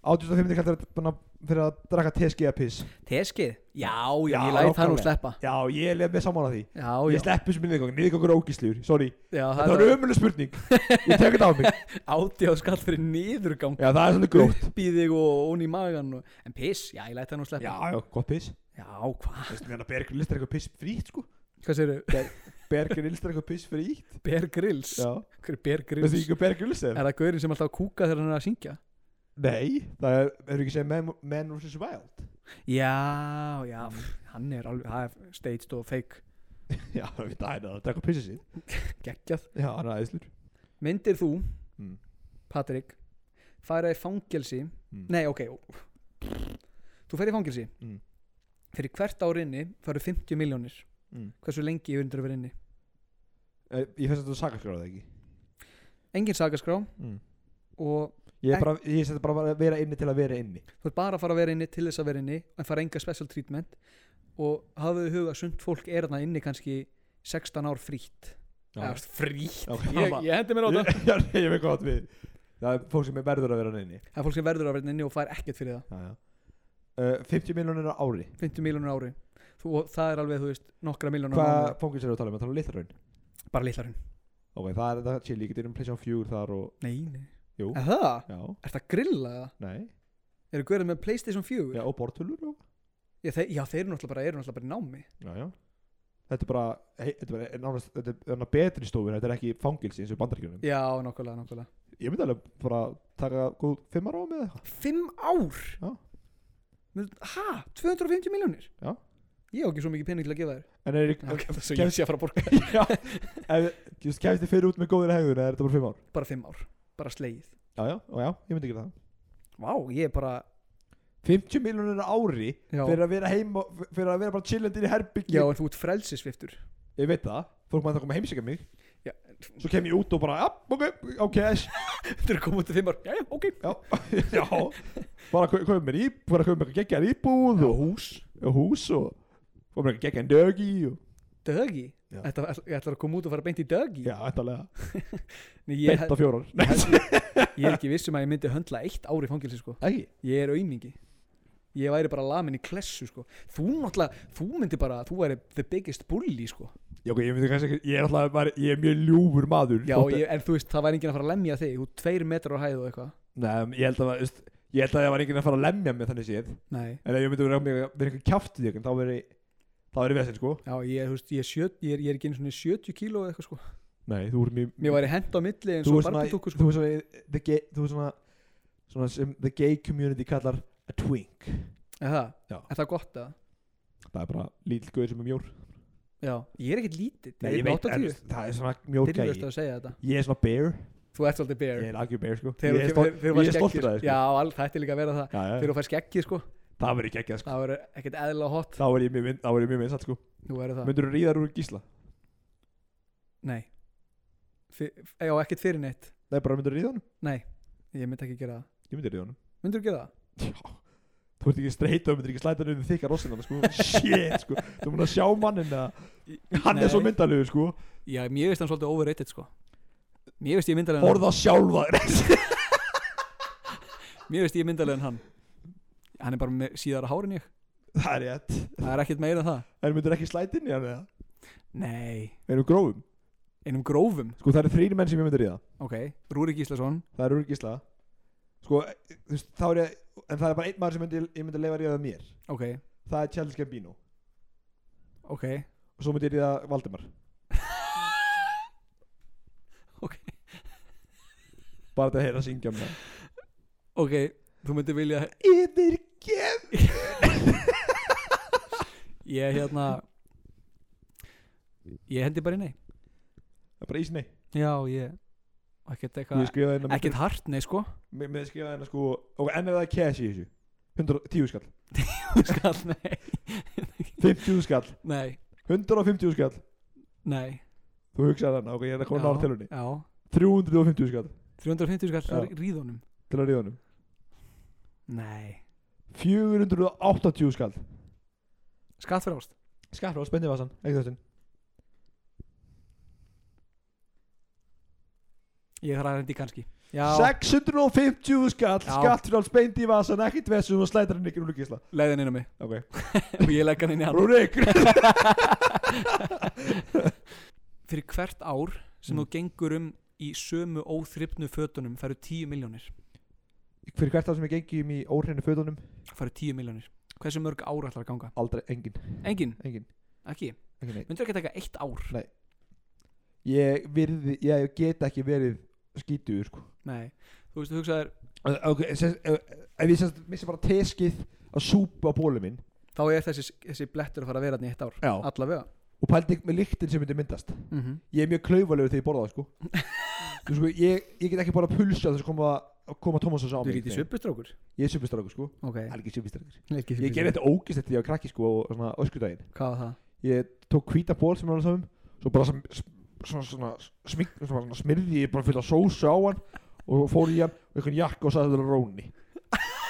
8500 kallar þetta bara fyrir að draka teskið að piss
Teskið? Já, já,
Já,
ég læt það nú
nákvæmlega.
sleppa
Já, ég lef með saman að því
Já, já,
Ég sleppu sem niðurgang, niðurgangur er ógísljur, sorry
já
Það var ömuleg spurning, ég tek þetta á mig
átjáð skall fyrir niðurgang <laughs>
Já, það er svona grótt
upp í þig og ón í magan og... en piss, já, ég læt það nú sleppa
<laughs> Já, já, gott piss
já hvað?
Veistu, meðan að Bergur listar eitthvað piss frítt, sko
Hvað segir þau?
Bergur listar eitthvað piss frítt
Bear Grylls?
Já,
Hver er Bear Grylls?
veistu ekki hvað Bergur listar?
Er það gaurinn sem alltaf kúka þegar hann er að syngja?
Nei, það er, hefur ekki segið Men, Men vs. Wild
Já, já, pff, Mm. hann er alveg, það er staged og fake
<laughs> Já, það er það, það drakk að pissa sín
geggjað.
Já, hann er aðeinslur
Myndir þú,
Mm.
Patrik, fara í fangelsi,
Mm.
nei, ok, þú fer í fangelsi,
Mm.
fyrir hvert ár inni faru 50 miljónir,
Mm.
hversu lengi yfir undir að vera inni?
Eh, Ég finnst að þú sakaskráði ekki
Engin sagaskrá
mm.
og
Ég, er bara, ég seti bara að vera inni til að vera inni
þú ert bara að fara að vera inni til þess að vera inni en fara enga special treatment og hafðu í huga að sund fólk er þarna inni kannski 16 ár frítt eða þú veist, frítt,
Já,
<laughs> ég, ég hendi mér á
ég,
þetta
<laughs> já, nei, ég veit hvað átt við Það er fólk sem er verður að vera neini
það er fólk sem verður að vera inni og fær ekkert fyrir það
já, já. Uh, 50 miljónir á ári
50 miljónur ári þú, og það er alveg, þú veist, nokkra miljónur
Hvað fóngis eru að tala um? Að tala um litlarraun
bara litlarinn,
Ok, það er þetta chill, ég getur um Playstation 4 þar og
nei, nei
Jú.
er það,
Já,
er það grilla eða?
nei
eru hverjum með Playstation 4
Já, og bortölur og
já, þeir, já þeir eru náttúrulega bara, eru náttúrulega bara í námi
Já, já Þetta er bara, hei, þetta er bara nánast, þetta er þarna betri stofur, þetta er ekki fangilsi eins og bandaríkjunum.
já, nokkulega, nokkulega
Ég myndi alveg bara taka góð fimm ára á með eitthvað.
5 ár
Já.
Mér- ha, 250 miljónir
Já.
ég á ekki svo mikið pening til að gefa þér
En er ekki,
<laughs> Ok, þess að
Kemst-
ég sé að fara að borga
<laughs> já, ef, þú veist, kemst þið fyrir út með góðir hegðun eða er þetta bara fimm ár?
bara fimm ár, bara slegið
Já, já, og já, ég myndi ekki það.
Vá, ég er bara
50 miljónir á ári
Já,
fyrir að vera heim og fyrir að vera bara chillandi í herbyggju
já en þú ert frelsisviftur
ég veit það, fólk maður það koma að heimsækja mig
Já.
svo kem ég út og bara, já, ok, ok
Þú er komið til fimm ár, já, já, ok <laughs>
já, já bara kau- kaupa mér íbúð bara kaupa mér eitthvað geggjaðar íbúð og,
hús
og hús og fór mér eitthvað geggjaðan dögi og,
Dögi,
Já.
þetta ég ætlar að koma út og fara beint í dögi
já, ættalega,
Nei, ég,
beint á fjórar Nei,
ég er ekki viss um að ég myndi höndla eitt ár í fangilsi sko.
ekki,
Ég er aumingi Ég væri bara lamin í klessu sko. Þú náttúrulega, þú myndi bara Þú væri the biggest bully sko.
já, ok, ég myndi kannski ekki ég er alltaf, maður, ég er mjög ljúfur maður
Já,
þótt að-
ég, en þú veist, það væri enginn að fara að lemja þig Þú tveir metrar á hæðu og eitthvað
Nei, ég held að, veist, ég held að það var enginn að fara að lemja mig þannig séð
Nei,
en ef ég myndi vera vera eitthvað kjátt í þig þá veri, þá veri vesinn, sko
já, ég, þú veist, ég, er sjö- ég, er- ég er ekki einu svona 70 kíló eða eitthvað sko
Nei, þú er mjög
Mér væri hend á milli eins
þú
og
er svona, þú
barbitukku sko.
er svona, the gay, þú er svona, svona sem the gay community kallar a twink
Er það?
Já.
Er það gott að?
það er bara lítill guður sem er mjór
Já. Ég er ekkert lítill.
Nei, ég veit, en, það er svona mjór gæi
Dyrðast að segja þetta.
ég er svona bear,
Þú ert svolítið bear.
ég er algjör bear sko
Þegar
ég er
þú-
stolt-
þegar- þegar þú fær
ég er stoltur
skeggið.
af þér, sko.
Já, all, það ætti líka að vera það.
Já, já,
Þegar þú fær skeggið sko,
það verður ekki ekki sko
það verður ekkert eðla hot.
þá verður ég mjög mynd- þá verður ég mjög vinsall sko
Þú verður það.
myndur þú ríðar úr gísla
Nei. Fyr, já, ekkert fyrir neitt.
nei, bara myndur þú ríða honum
Nei, ég myndi ekki gera það.
ég myndur ríða honum
Myndur þú gera það?
Já. þú ert ekki streit og myndur ekki slæta hann um þykka rossinana
<laughs>
sko shit sko þú mun að sjá mannin að hann er svo
Nei.
myndalegu sko
Já, mér veist hann svolítið overrated sko. Mér veist ég myndarlega en hann.
horða sjálfa þér.
Mér veist ég myndarlega en hann. Hann er bara með síðara hár en ég.
<laughs> það er rétt
Það er ekkert meira en það.
en myndur ekki slæta inn í hann eða
Nei.
erum grófum
Einum grófum.
sko það eru þrýri menn sem ég myndi ríða
Ok. Rúrik Íslason.
það eru Úrgísla sko þú veist þá er ég en það er bara einn maður sem myndi, ég myndi leifa ríða mér
Ok.
það er Charles Gambino
Ok.
og svo myndi ég ríða Valdimar
Ok.
bara þetta að heyra að syngja um það
Ok, þú myndir vilja
yfirgef
Ég hérna Ég hendi bara í nei
það er bara ísnei
Já, ég Ekkert
ég
eitthvað
skrifaði hérna
Ekkert hart, nei <laughs> sko
mér mér skrifaði hérna sko og enn er það cash í þessu 110 skall
Skall, nei
50 skall
Nei,
150 skall
nei
þú hugsaði hérna ok ég er að koma
Já,
nála telunni
Já,
350 skall
350 skall það
Já.
er ríðunum
til að ríða honum
Nei
480 skall
Skall fyrir ást
skall og spennið vasan ekki þessum
Ég þarf að hendi kannski já,
650 skall,
Já.
skattfráls beint í vasan, ekkert vesum og slætar hann ykkur úr gísla.
leiðin inn á mig <laughs>
Ok,
og ég legg hann inn í hann
Rúrik!
fyrir hvert ár sem
Mm.
þú gengur um í sömu óþryfnu fötunum færu 10 miljónir
Fyrir hvert það sem ég gengjum um í óhreinu fötunum,
færu 10 miljónir hversu mörg ár ætlar að ganga?
aldrei, engin,
engin,
engin,
ekki
engin, engin.
myndur ekki taka eitt ár?
Ég virði, ég get ekki verið skítuður, sko.
nei, þú veist, þú hugsaðir
Ok, sem- ef ég semst missi bara teskið að súpa á bólum minn
þá er þessi, þessi blettur að fara að vera þarna í eitt ár
Já. Mhm.
allavega
og pældi ekki með lyktin sem myndi myndast
mm -hmm.
ég er mjög klaufalegur þegar ég borða það
<laughs>
sko, Þú sko ég, ég get ekki bara pulsa þess að koma, að koma Thomas á
þú
mig
er í svipustrákur
ég er svipistrákur sko
ok,
Það er ekki
<laughs>
svipistrákur
ekki
ég gerði þetta ógist eftir því að ég var krakki sko og svona öskudaginn
hvað var það?
ég tók hvíta ból sem er alveg saman um, svo bara sem, svona, svona, smik, svona, svona smirði ég bara fullt af sósu á hann og fór í hann og einhvern jakka og sagði þetta er róni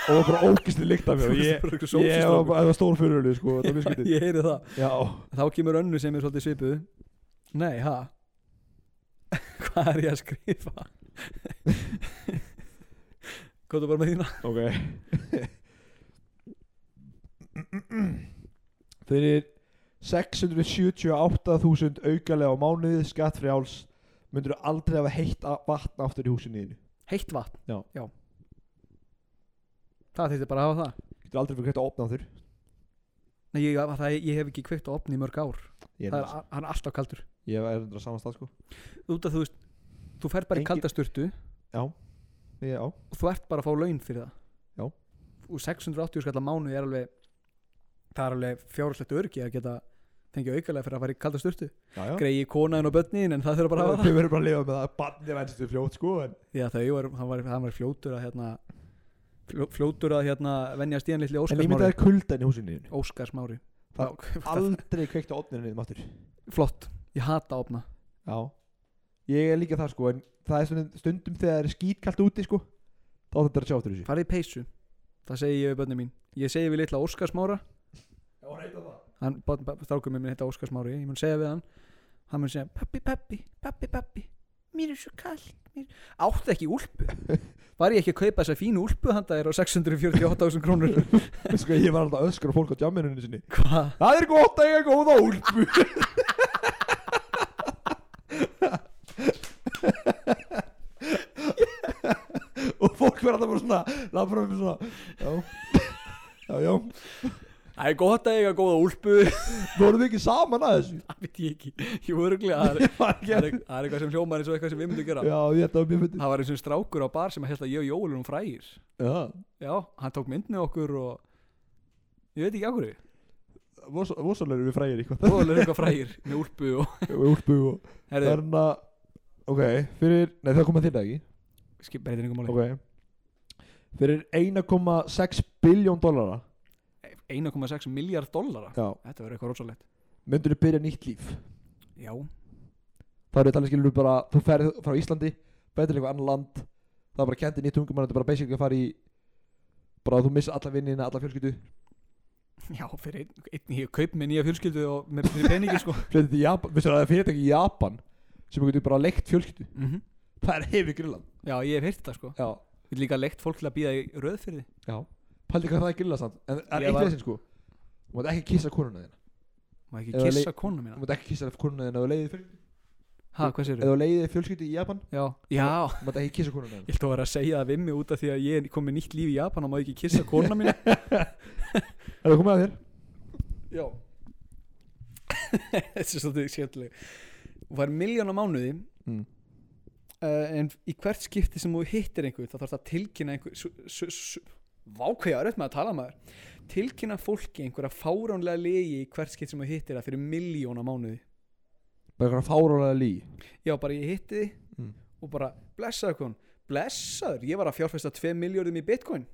og var bara ógist í lykt af mér og
<laughs>
ég
Þú ert bara
Ég
einhver
var bara, það var stór fyrirölu sko, það var mjög
sósustrákur.
skytið
ég heyri það
<laughs> Já,
þá kemur önnu sem er svolítið svipuð nei, ha <laughs> hvað er ég að skrifa? <laughs> komdu bara með þína
ok <laughs> Fyrir 678.000 aukalega á mánuði skattfrjáls myndur aldrei hafa heitt a- vatn aftur í húsinu þínu
heitt vatn
Já.
það þýtti bara að hafa það
Getur aldrei fyrir hvert að opna aftur
Nei, ég, það, ég hef ekki kveikt á opni í mörg ár
Ég
það
er,
er, hann er alltaf kaldur
ég er endur á saman stað sko
út af þú veist, þú fer bara í
Engin-
kalda sturtu
Ég, Já,
og þú ert bara að fá laun fyrir það
Já.
og 680 skall að mánu er alveg það er alveg fjárhaldslegt örgi að geta fengið aukalega fyrir að fara í kalda sturtu
já, já
greiði konaðin og börnin en það þurfa
<laughs>
bara að hafa
Þau verður bara að lifa með það Banni venstu fljótt sko en,
það já þau var, hann var, hann var fljótur að hérna fljó- fljótur að hérna venja stíðan litli
en ég myndi að það
Óskarsmári
er kuldan í húsinu þínu
Óskarsmári
Það- Aldrei kveikt á opninu þínu aftur
flott, ég hata opna
Já Ég er líka það sko En það er stundum, stundum þegar það er skítkallt úti sko Þá þetta er að sjá eftir þessu
farið í peysu, það segi ég við börnin mín ég segi við litla Óskarsmára
Já, reyta það
hann, strákum minn heita Óskars Mári ég mun segja við hann hann mun segja pappi, pappi, pappi, pappi mér er svo kallt mér... átti ekki úlpu <laughs> var ég ekki að kaupa þessa fínu úlpu handa þér á 648.000 krónur <laughs>
Sko ég var alltaf að öskra á fólk á jamminu sinni
hvað,
Það er gott að eiga góða úlpu Og fólk verður alltaf bara svona Lafra með svona Já Já, já
það er gott að eiga góða úlpu
Vorum við ekki saman að þessu
það <laughs> veit ég ekki, ég voru örglega
<laughs>
það er-
Ég var ekki
það
að
er það er eitthvað sem hljómar eins og eitthvað sem við myndum gera
Já, þetta var mjög fyndið
það var eins og strákur á bar sem held að ég og Jóel um frægir
Já
já, hann tók mynd með okkur og ég veit ekki
<laughs>
af hverju
Vossalegur við frægir eitthvað
Jóel er eitthvað frægir með úlpu og
<laughs>
<laughs>
Úlpu og
herðu,
Þannig að Ok, fyrir Nei það kom að þér ekki
skip breytir einhver máli
Ok Fyrir 1,6 biljón dollara
1,6 miljard dollara
Já
Þetta verður eitthvað rosalegt
Myndur þú byrja nýtt líf
Já,
Það eru talað skilur bara Þú ferð frá Íslandi Betur eitthvað annan land Það er bara kendi nýtt tungum Það er bara basically að fara í Bara þú missa alla vinnina Alla fjölskyldu
já fyrir einn, einn ég kaup með nýja fjölskyldu og með fyrir peningi sko
Flytur til Japan Vissir það er fyrirtæki í Japan Sem getur bara leikt fjölskyldu
mm
Það er hefur grillan
Já, ég hef heyrt þetta sko
Já
Við líka leikt fólk til að býða í röð fyrir því
Já Paldi hvað það er grilla samt En það er
Ég
eitt
var-
veginn sko Þú mátt ekki kissa konuna þína
Má ekki
Eða
kissa konu
Þú
mína
mátt ekki kissa konuna þína Ef þú leiðir fjölskyldu
Ha, hvað sér
Ef þú leiðir fjölskyldu í Japan
Já, já
Þú mátt ekki kissa konuna þína
Ég ætla að vera að segja það við mig út af því að ég er komið nýtt líf í Japan og má ekki kissa kona mína
Er það komið að þér?
<laughs> Já <laughs> Þetta er svolítið skemmtileg Þú fær miljón á mánuði
Mm.
uh, En í hvert skipti sem þú hittir einhver þá þarf það að tilkynna einhver su- su- su- Vá, hvað ég er auðvitað með að tala maður Tilkynna fólki einhverja fáránlega legi í hvert skipti sem þú hittir það fyrir miljón á mánuði
Bara eitthvað fárólega lí
Já, bara ég hitti þið
Mm.
og bara blessaður kon Blessaður, ég var að fjárfesta 2 miljóðum í bitcoin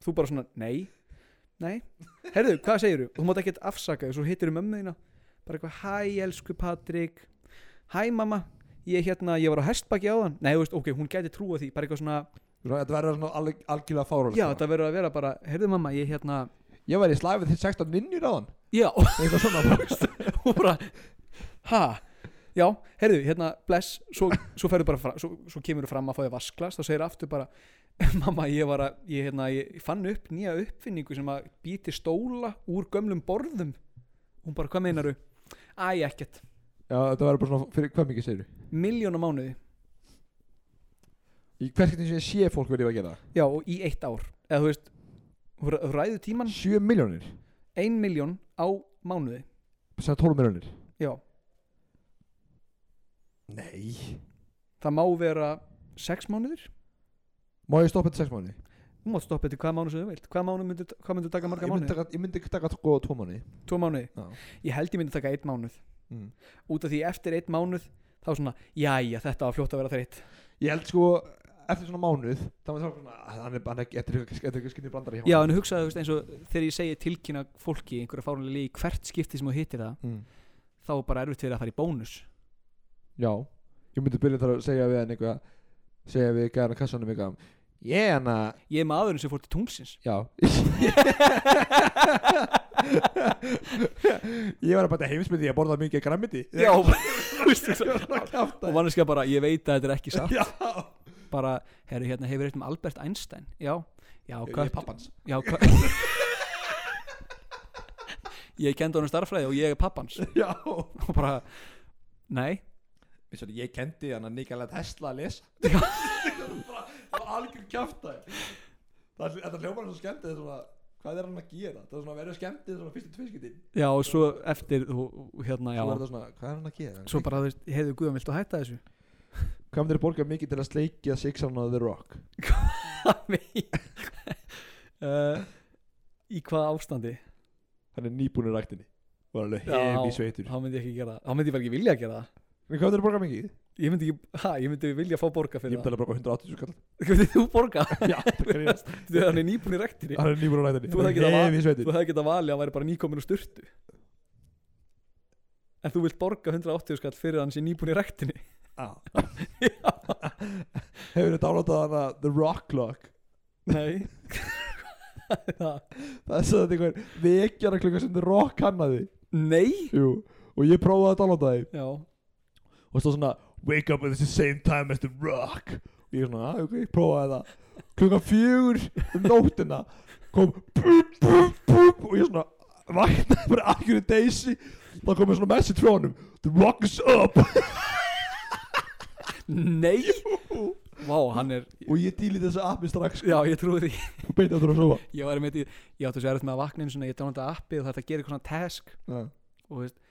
Þú bara svona, nei Nei, herðu, hvað segirðu? Þú mátt ekkert afsaka þig, svo hittirðu mömmu þína Bara eitthvað, hæ elsku Patrik Hæ mamma, ég hérna, ég var á hestbaki áðan Nei, þú veist, ok, hún gæti trúa því Bara eitthvað svona,
Þetta verður svona alveg, algjörlega fáránlegt
já, þetta verður að vera bara Herðu mamma, ég hérna,
Ég væri í slæfið til 16 ninjur á hann
já
Eitthvað svona
Og bara, ha já, heyrðu, hérna, bless svo, svo, ferðu bara fram, svo, svo kemur þú fram að fá þér vasklas þá segir aftur bara mamma, ég var að, ég, hérna, ég fann upp nýja uppfinningu sem að býti stóla úr gömlum borðum hún bara, hvað meinaru? Æ, ekkert,
Já, þetta verður bara svona fyrir hvað mikið segir
miljón á mánuði
Í hvert getur sem ég sé fólk verið að gera það?
já, og í eitt ár eða þú veist, þú þú ræður tíman
7 miljónir
ein miljón á mánuði
Sæða 12 miljónir
já,
Nei
það má vera sex mánuðir
Má ég stoppa þetta 6 mánuði?
þú mátt stoppa þetta í hvaða mánuð sem þú vilt hvaða mánuð myndi, hvað myndi taka marga
Ég myndi
mánuði?
taka- Ég myndi taka sko 2 mánuði
tvo mánuði?
Já.
ég held ég myndi taka eitt mánuð
Mm.
út af því eftir eitt mánuð þá svona, jæja, þetta var fljótt að vera þreytt
Ég held sko eftir svona mánuð þá var það svona hann er bara ekki eftir eitthvað skinnir brandari hjá
já, en hugsaðu þú veist, eins og þegar ég segi tilkynna fólki í einhverja fárunlega líi hvert skipti sem þú hittir það
mm.
þá er bara erfitt fyrir að fara í bónus
já ég myndi byrja þar að segja við hann eitthvað segja við gæðan að kassanum eitthvað ég hann að
ég er maðurinn sem fór til tunglsins
já <laughs> ég var að bæta heimsmyndi ég borðaði mikið grammiti
já, þú veist þú
<laughs> ég var að
og
kæfta
manneskja bara, ég veit að þetta er ekki satt
já
bara, herru, hérna hefur eitt um Albert Einstein já, já,
ég er
kött
pappans
já, kött ég kendi honum starffræði og ég er pappans
já
og bara, nei
Vissar, ég kendi hann að Nikola Tesla að lesa
<laughs> Já.
það var algjör kæfta þetta hljómar svo skemmt þetta er svona hvað er hann að gera það er svona að vera skemmt þetta er svona fyrstu tviskitin
já, og svo eftir, þú, hérna, já
svo er það svona hvað er hann að gera
svo bara, þú veist, heyrðu Guðan, viltu að hætta <laughs> þessu?
hvað myndir borga mikið til að sleikja Six on the Rock
<laughs> uh, í hvaða ástandi?
hann er nýbúin í ræktinni var alveg
Já.
hefi sveitur
Þá myndi ég ekki gera það, þá myndi ég bara ekki vilja að gera það
en hvað myndir borga mikið
ég myndi ekki, hæ, ég myndi vilja að fá borga
ég
fyrir
myndi alveg borga 180 skall
<laughs> það myndi þú borga?
<laughs> já það grínast.
Þú veist, hann er nýbúin í rektinni
hann er nýbúin í
Þú hefði
ræktinni
getað
hefi
þú
sveitur
hefði getað valið að hann væri bara nýkomin úr sturtu en þú vilt borga 180 skall fyrir að hann sé nýbúin í rektinni
<laughs> hefur þið dálátað hann að The Rock Clock
nei <laughs> Það-
það er svo þetta einhver vekjara klukka sem The Rock hannaði
nei
Jú, og ég prófaði að downloada því
já,
og stóð svona Wake up at the same time as the rock og ég svona, "Ah, ok, prófaði það klukkan fjögur um nóttina kom búp, búp, búp, og ég svona vaknaði bara algjöru deysi þá komið svona message frá honum The rock is up <laughs>
nei vá, hann er
og ég dýli þessu appi strax
já, ég trúi því
og beinti aftur að sofa
ég var með því, ég átti þessu erfitt með að vakna eins og ég dánandi appi og þetta gerir eitthvað svona task
Já.
og þú veist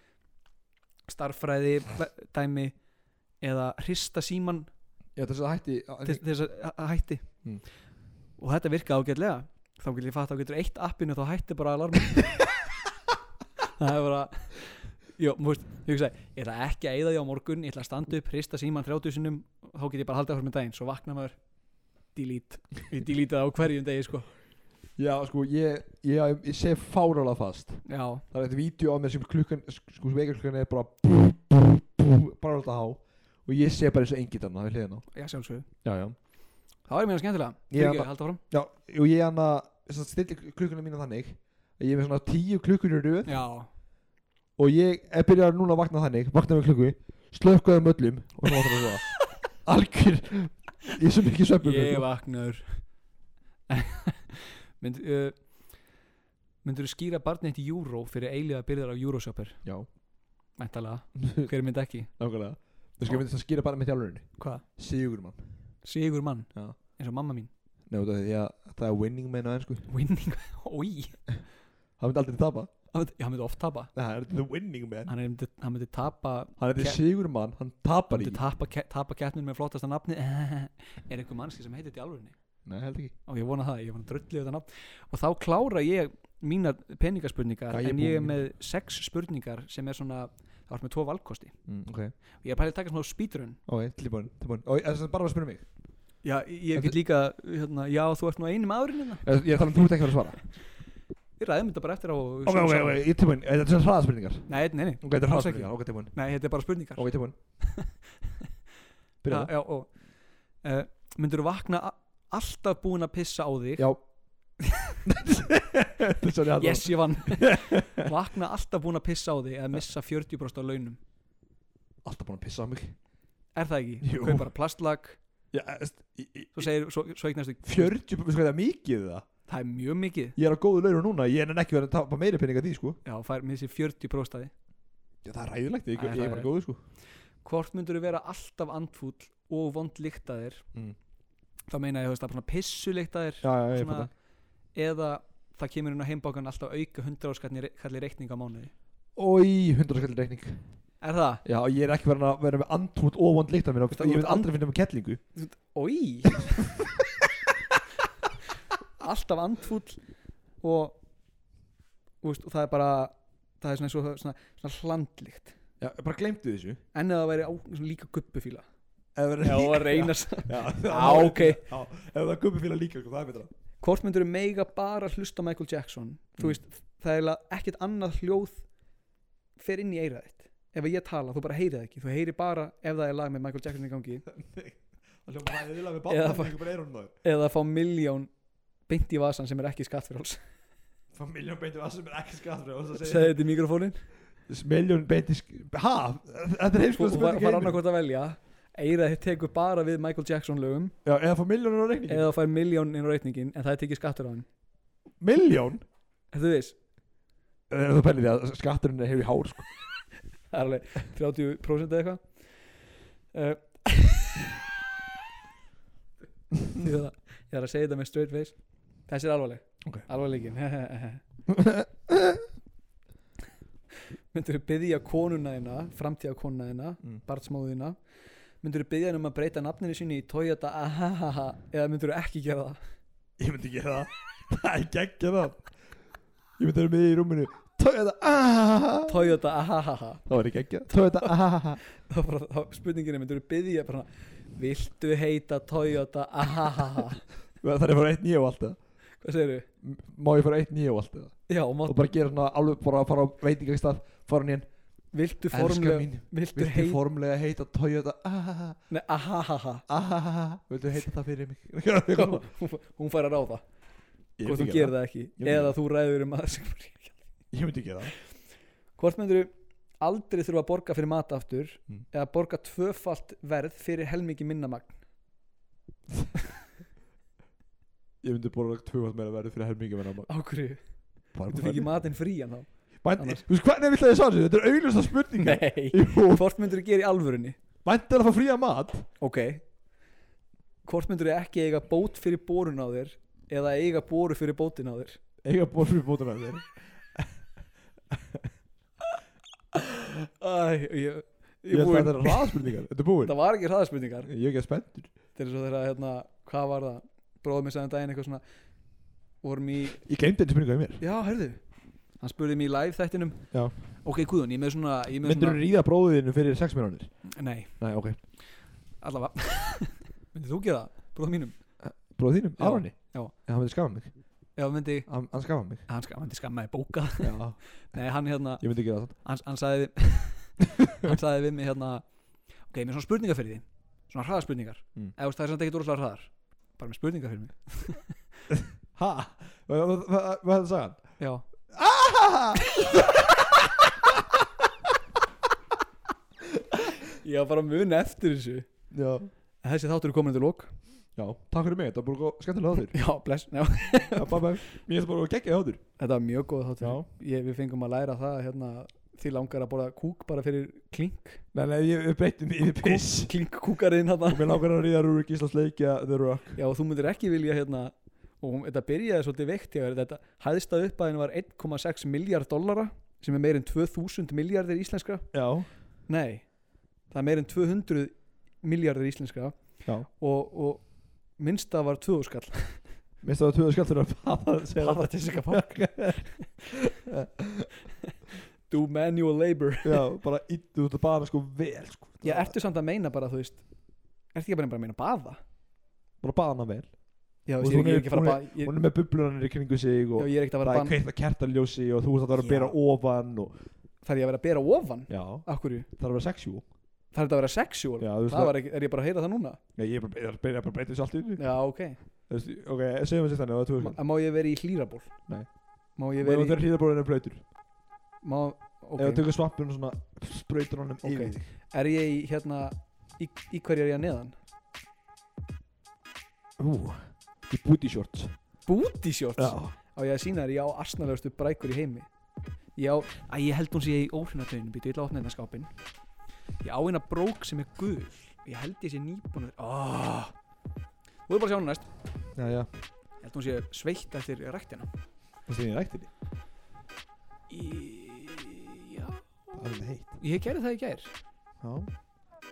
starffræði dæmi eða hrista síman
Já, þess að hætti
til þess að að hætti
Mm.
og þetta virkaði ágætlega þá getur ég fatt að getur eitt appinu þá hætti bara <laughs> alarmin það er bara Jó, þú veist, ég hugsa, ég ætla ekki að eyða því á morgun ég ætla að standa upp, hrista síman 30 sinum þá get ég bara haldið áfram með daginn, svo vakna maður delete, ég delete það á hverjum degi sko.
Já, sko, ég, ég, ég sé fárala fast
já,
það er eitt vídeo á mér sem klukkan sko sem veikarklukkan er bara bú, bú, bú, bara alltaf há og ég sé bara eins og enginn þarna við hliðina á.
já sjálfsögðu
já, já.
það er mér skemmtilega,
Ég
fyrir
bara-
ekki, haldið áfram
já og ég hann að stilli klukkuna mína þannig að ég er með svona tíu klukkunir röð
já,
og ég er byrjað núna að vakna þannig vakna með klukku, slökkaði um öllum og svo áttur að svo <laughs> algjör ég sem ekki sveppum
Ég vaknar <laughs> Mynd, uh, Myndur þú skýra barnið eitt júró fyrir eiliða byrðar á júrósjópir?
já, <laughs>
Mæntalega, hver mynd ekki?
nákvæmlega þú skal myndast að skýra bara með þjálfurinni
Hvað?
sigur mann
Sigur mann,
Já.
eins og mamma mín
Nei, út af því að það er winning menn á ennsku
Winning, <laughs> oi
hann myndi aldrei tapa
Hann myndi- hann myndi oft tapa
Nei, hann er the winning man
Hann, er, myndi- hann myndi tapa
hann er
Ke-
sigur mann, hann tapar
Hann
í
myndi tapa, ke- tapa keppnin með flottasta nafni <laughs> Er einhver mannski sem heitir þetta í alvörinni?
Nei, held ekki
Og ég vona það, ég vona drullið þetta nafn Og þá klára ég mínar peningaspurningar
Hvað ég
En
búinn
ég er
með?
með sex spurningar sem er svona Það var með tvo valkosti
mm, Ok,
Ég er pælið að taka svona speedrun
ok, tilbúin, tilbúin Og þess að bara var að spyrja mig
Já, ég
Þetta-
get líka, hérna, já, þú ert nú einum árin hérna.
Ég, ég tala um þú ert ekki að fara að svara
Við ræðum þetta bara eftir á og
Ok, ok, ok, ég er tilbúin Þetta er svona hraðaspurningar
Nei, nei, nei,
Ok, þetta er
Alls
hraðaspurningar, ok, tilbúin
nei, þetta er bara spurningar
Ok, tilbúin Byrja
Já, já, og uh, Myndur þú vakna a- alltaf búin að pissa á þig
það <laughs> Já Þetta er svona ég
Yes, <laughs> ég vann Vakna alltaf búin að pissa á þig eða missa 40% á launum
alltaf búin að pissa á mig
er það ekki?
Jú.
Kaupar plastlag,
Já, eðst, í, í,
svo segir, svo, svo eignastu
40, veistu hvað það er mikið það?
Það er mjög mikið
Ég er á góðu lauru núna, ég er ekki verið að tapa meiri peninga því sko
Já, fær með þessi 40 próstaði
Já, það er ræðilegt, ég,
Það er
ég er bara
hræðilegt.
góðu sko
Hvort myndur vera alltaf andfúll og vond lyktaðir
Mm.
Þá meina ég, þú veist, það er svona pissulyktaðir
Já, já, ég
svona-
fæta
Eða það kemur inn á heimbákan alltaf auka 100 áskallir kallir reikning á mánuði
Ói, 100 skall reikning
Er það?
Já, ég er ekki verið að vera með andrúnt og vond líkt af mér og
Veistu að
Ég
þú
veit
ert
aldrei finna með kettlingu
Ói <laughs> Alltaf andfúll og, og, veist, og það er bara það er svona, svona, svona, svona hlandlíkt
Já, bara glemtu þessu
en ef það væri á, svona líka guppufíla
Ef það er-
<laughs> Já, að reynast
Já,
Já, ok.
Já, ef það er gubbi fíla líka, sko, það er betra <laughs>
Hvort myndur mega bara hlusta á Michael Jackson
Mm.
þú veist, það er eiginlega ekkert annað hljóð fer inn í eirað þitt ef ég tala, þú bara heyrið það ekki þú heyrir bara ef það er lag með Michael Jackson í
<laughs>
gangi
Það hljóma ræðilega með
Eða
barna
bara-
Það er eirunum maður
eða fá miljón beint í vasan sem er ekki skattfyrháls
<laughs> Miljón beinti vassum er ekki skattfrjáls
segði þetta í mikrofónin
Miljón beinti sk- Ha? Þetta er
og
heimskoð spurning
var,
í
var
heiminum.
annarkvort að velja eirað þitt tekur bara við Michael Jackson
<laughs>
lögum
Já, eða fá miljónur á reikningin
eða fær miljón inn á reikningin en það er tekið skattur á hann
Miljón?
Þetta veist,
Ef Eh, þú pælir því að skatturinn hefur í hár sko.
það er alveg 30% eða eitthvað
<laughs>
uh, Ég er að- ég er að segja þetta með straight face Þessi er alvarleg
Ok.
<laughs> Alvarlegin Myndur þú byggja konuna þína framtíða konuna þína,
Mm.
barnsmóðina myndur þú byggja henni um að breyta nafninu sínu í Toyota ahahaha eða myndur þú ekki gera það
Ég myndi ekki það <laughs> Það er geggja það Ég myndi vera með í rúminu Ah! Toyota ahahaha
Toyota ahahaha
Það var ekki geggja Toyota ahahaha
þá bara þá spurninginni myndur þú byggja bara svona, viltu heita Toyota ahahaha
Það er að fara eitt nýja og allt það
hvað segirðu?
M- Má ég fara eitt nýja og allt það
Já, og
Og
mátt,
bara gera svona alveg bara að fara á veitingastaf Fara hann inn
viltu
Elskar
formlega
mín
viltu,
Viltu
heita
formlega heita Toyota ahahaha
nei, ahahaha
Ahahaha Viltu heita það fyrir
<laughs>
mig
hún hún fær að ráða
Ég
hvort
myndi
þú
gera
gerir það ekki
myndi
eða
gera
þú ræður um að sem-
Ég myndi ekki það
hvort myndur þú aldrei þurfa að borga fyrir mat aftur
Mm.
eða borga tvöfalt verð fyrir helmingi minnamagn
Ég myndi borða tvöfald meira verið fyrir helmingi menn að
á hverju,
Bara
þú fikk í matinn frían þá
Mæn,
annars.
þú veist hvernig vill að ég sá þessu? Þetta er augljósta spurningar
<laughs> nei,
Jú,
hvort myndur þú gera í alvörunni
mæntir að fá fría mat
ok hvort myndur þú ekki eiga bót fyrir borun á þér eða eiga boru fyrir bótin á þér
eiga ból fyrir bóta með þér
Æ, ég,
ég held að þetta er hraðspurningar, þetta er búin
<laughs> það var ekki hraðaspurningar
ég er ekki að spenntur
Þetta er svo þegar að, hérna, hvað var það bróðum mér sagði um daginn eitthvað svona vorum í,
ég glemdi þetta spurninga í mér
já, herðu hann spurði mér í live þættinum
Já.
ok, Guðun, ég er með svona, ég er með
myndur þú ríða bróðinu fyrir 6 minúnir?
svona nei,
nei, ok,
allavega <laughs> myndir þú gera það, bróðum mínum
bróð þínum,
Já.
Aroni
Já.
hann myndi skafa mig,
já, myndi,
hann, hann skafa mig
hann, ska, hann myndi skammaði bóka
Já.
<laughs> nei, hann hérna,
ég myndi gera það
hann, hann sagði hann sagði við <laughs> mig hérna ok, mér er svona spurningar fyrir því svona hraðaspurningar,
Mm.
eða þú veist, það er samt ekkert úrlega hraðar bara með spurningar fyrir mig
ha, hvað hvað- hvað- hvað það sagði hann?
já, <laughs> ég var bara mun eftir þessu
já,
En þessi þáttur er komin til lók
já, takk fyrir mig, þetta var bara skemmtilega
<laughs>
hátur
já, bless, já
Já, bæ, bæ. mér finnst bara geggjað hátur
Þetta var mjög góð
Já.
þáttur ég, Við fengum að læra það hérna, Því langar að borða kúk bara fyrir klink
nei, nei, ég breytum í piss
Klink kúkarinn hérna
og mér langar að ríða Rúrik Íslands leikja The Rock
Já, og þú myndir ekki vilja hérna Og hún- þetta byrjaði svolítið veikt hjá þér. Þetta hæðsta upp að henni var 1,6 miljard dollara Sem er meir en 2000 miljardir íslenska
já,
Nei, það er meir en 200 miljardir
já
íslenska Og, og minnsta var 2000 <laughs> skall
Minnst það að tuða skjálfur <laughs> að paða að segja
Paða til þess að <laughs> Do manual labor
Já, bara íttu út að baða sko vel sko.
Já, ertu samt að meina bara, þú veist Ertu ekki bara bara að meina að baða?
Bara baða hana vel
Já,
Og
þú veist, ég
hún
er
er-
ekki að fara að
hún
baða ég,
Hún er með bublunarnir í kringu sig
Já,
og
ég er ekkert
það
að
er
fara að banna
kveikt að kertaljósi og þú ert að vera að
Já.
bera ofan og,
Þarf ég að vera að bera ofan?
Já,
Af hverju?
það er að vera sexjú
Þarf þetta að vera sexual?
Já, þú veist
það
það
var ekki, er ég bara að heyra það núna?
Já, ég er bara- ég er bara að breyta þessu allt í einu.
Já, ok
Þú veist, Ok, segjum við sér þannig að það tuða
Ma, Má ég vera í hlýraból?
Nei.
Má
skjálfur
ég vera
Og
í
það er hlýðabróðinu blöytur
má,
Ef þú
ok
tekur svampinu svona sprautur honum
Ok.
yfir þig
Er ég í hérna Í, í hverju er ég að neðan?
Ú, í booty shorts
Booty shorts?
Já,
Á ég að sína þér, ég á arsnalegustu brækur í heimi Ég á, að ég held hún sé í óhrinatöðinu Býtu, ég ætla að opna hérna skápinn Ég á hérna brók sem er gul Ég held ég sé nýbúnur oh. Þú er bara að sjá hún næst
já, já
Ég held hún sé sveitt eftir ræktina
Það sé ég ræktinni
Í- Já,
Það er heitt
ég gerði það í gær
Já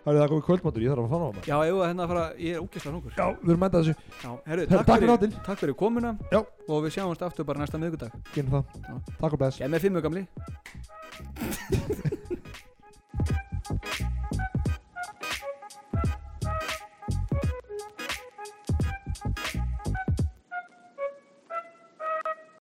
Hörru, það komið kvöldmatur, ég þarf að fara á maður
Já, ef að hérna að fara, ég er ógæslega nokkur
Já, við erum mætað þessu
Já, herru,
Herru, takk fyrir
fyrir,
átinn
takk fyrir komuna
Já.
Og við sjáumst aftur bara næsta miðgudag
Genum það
Já.
Takk og bless
Ég er með fimmu gamli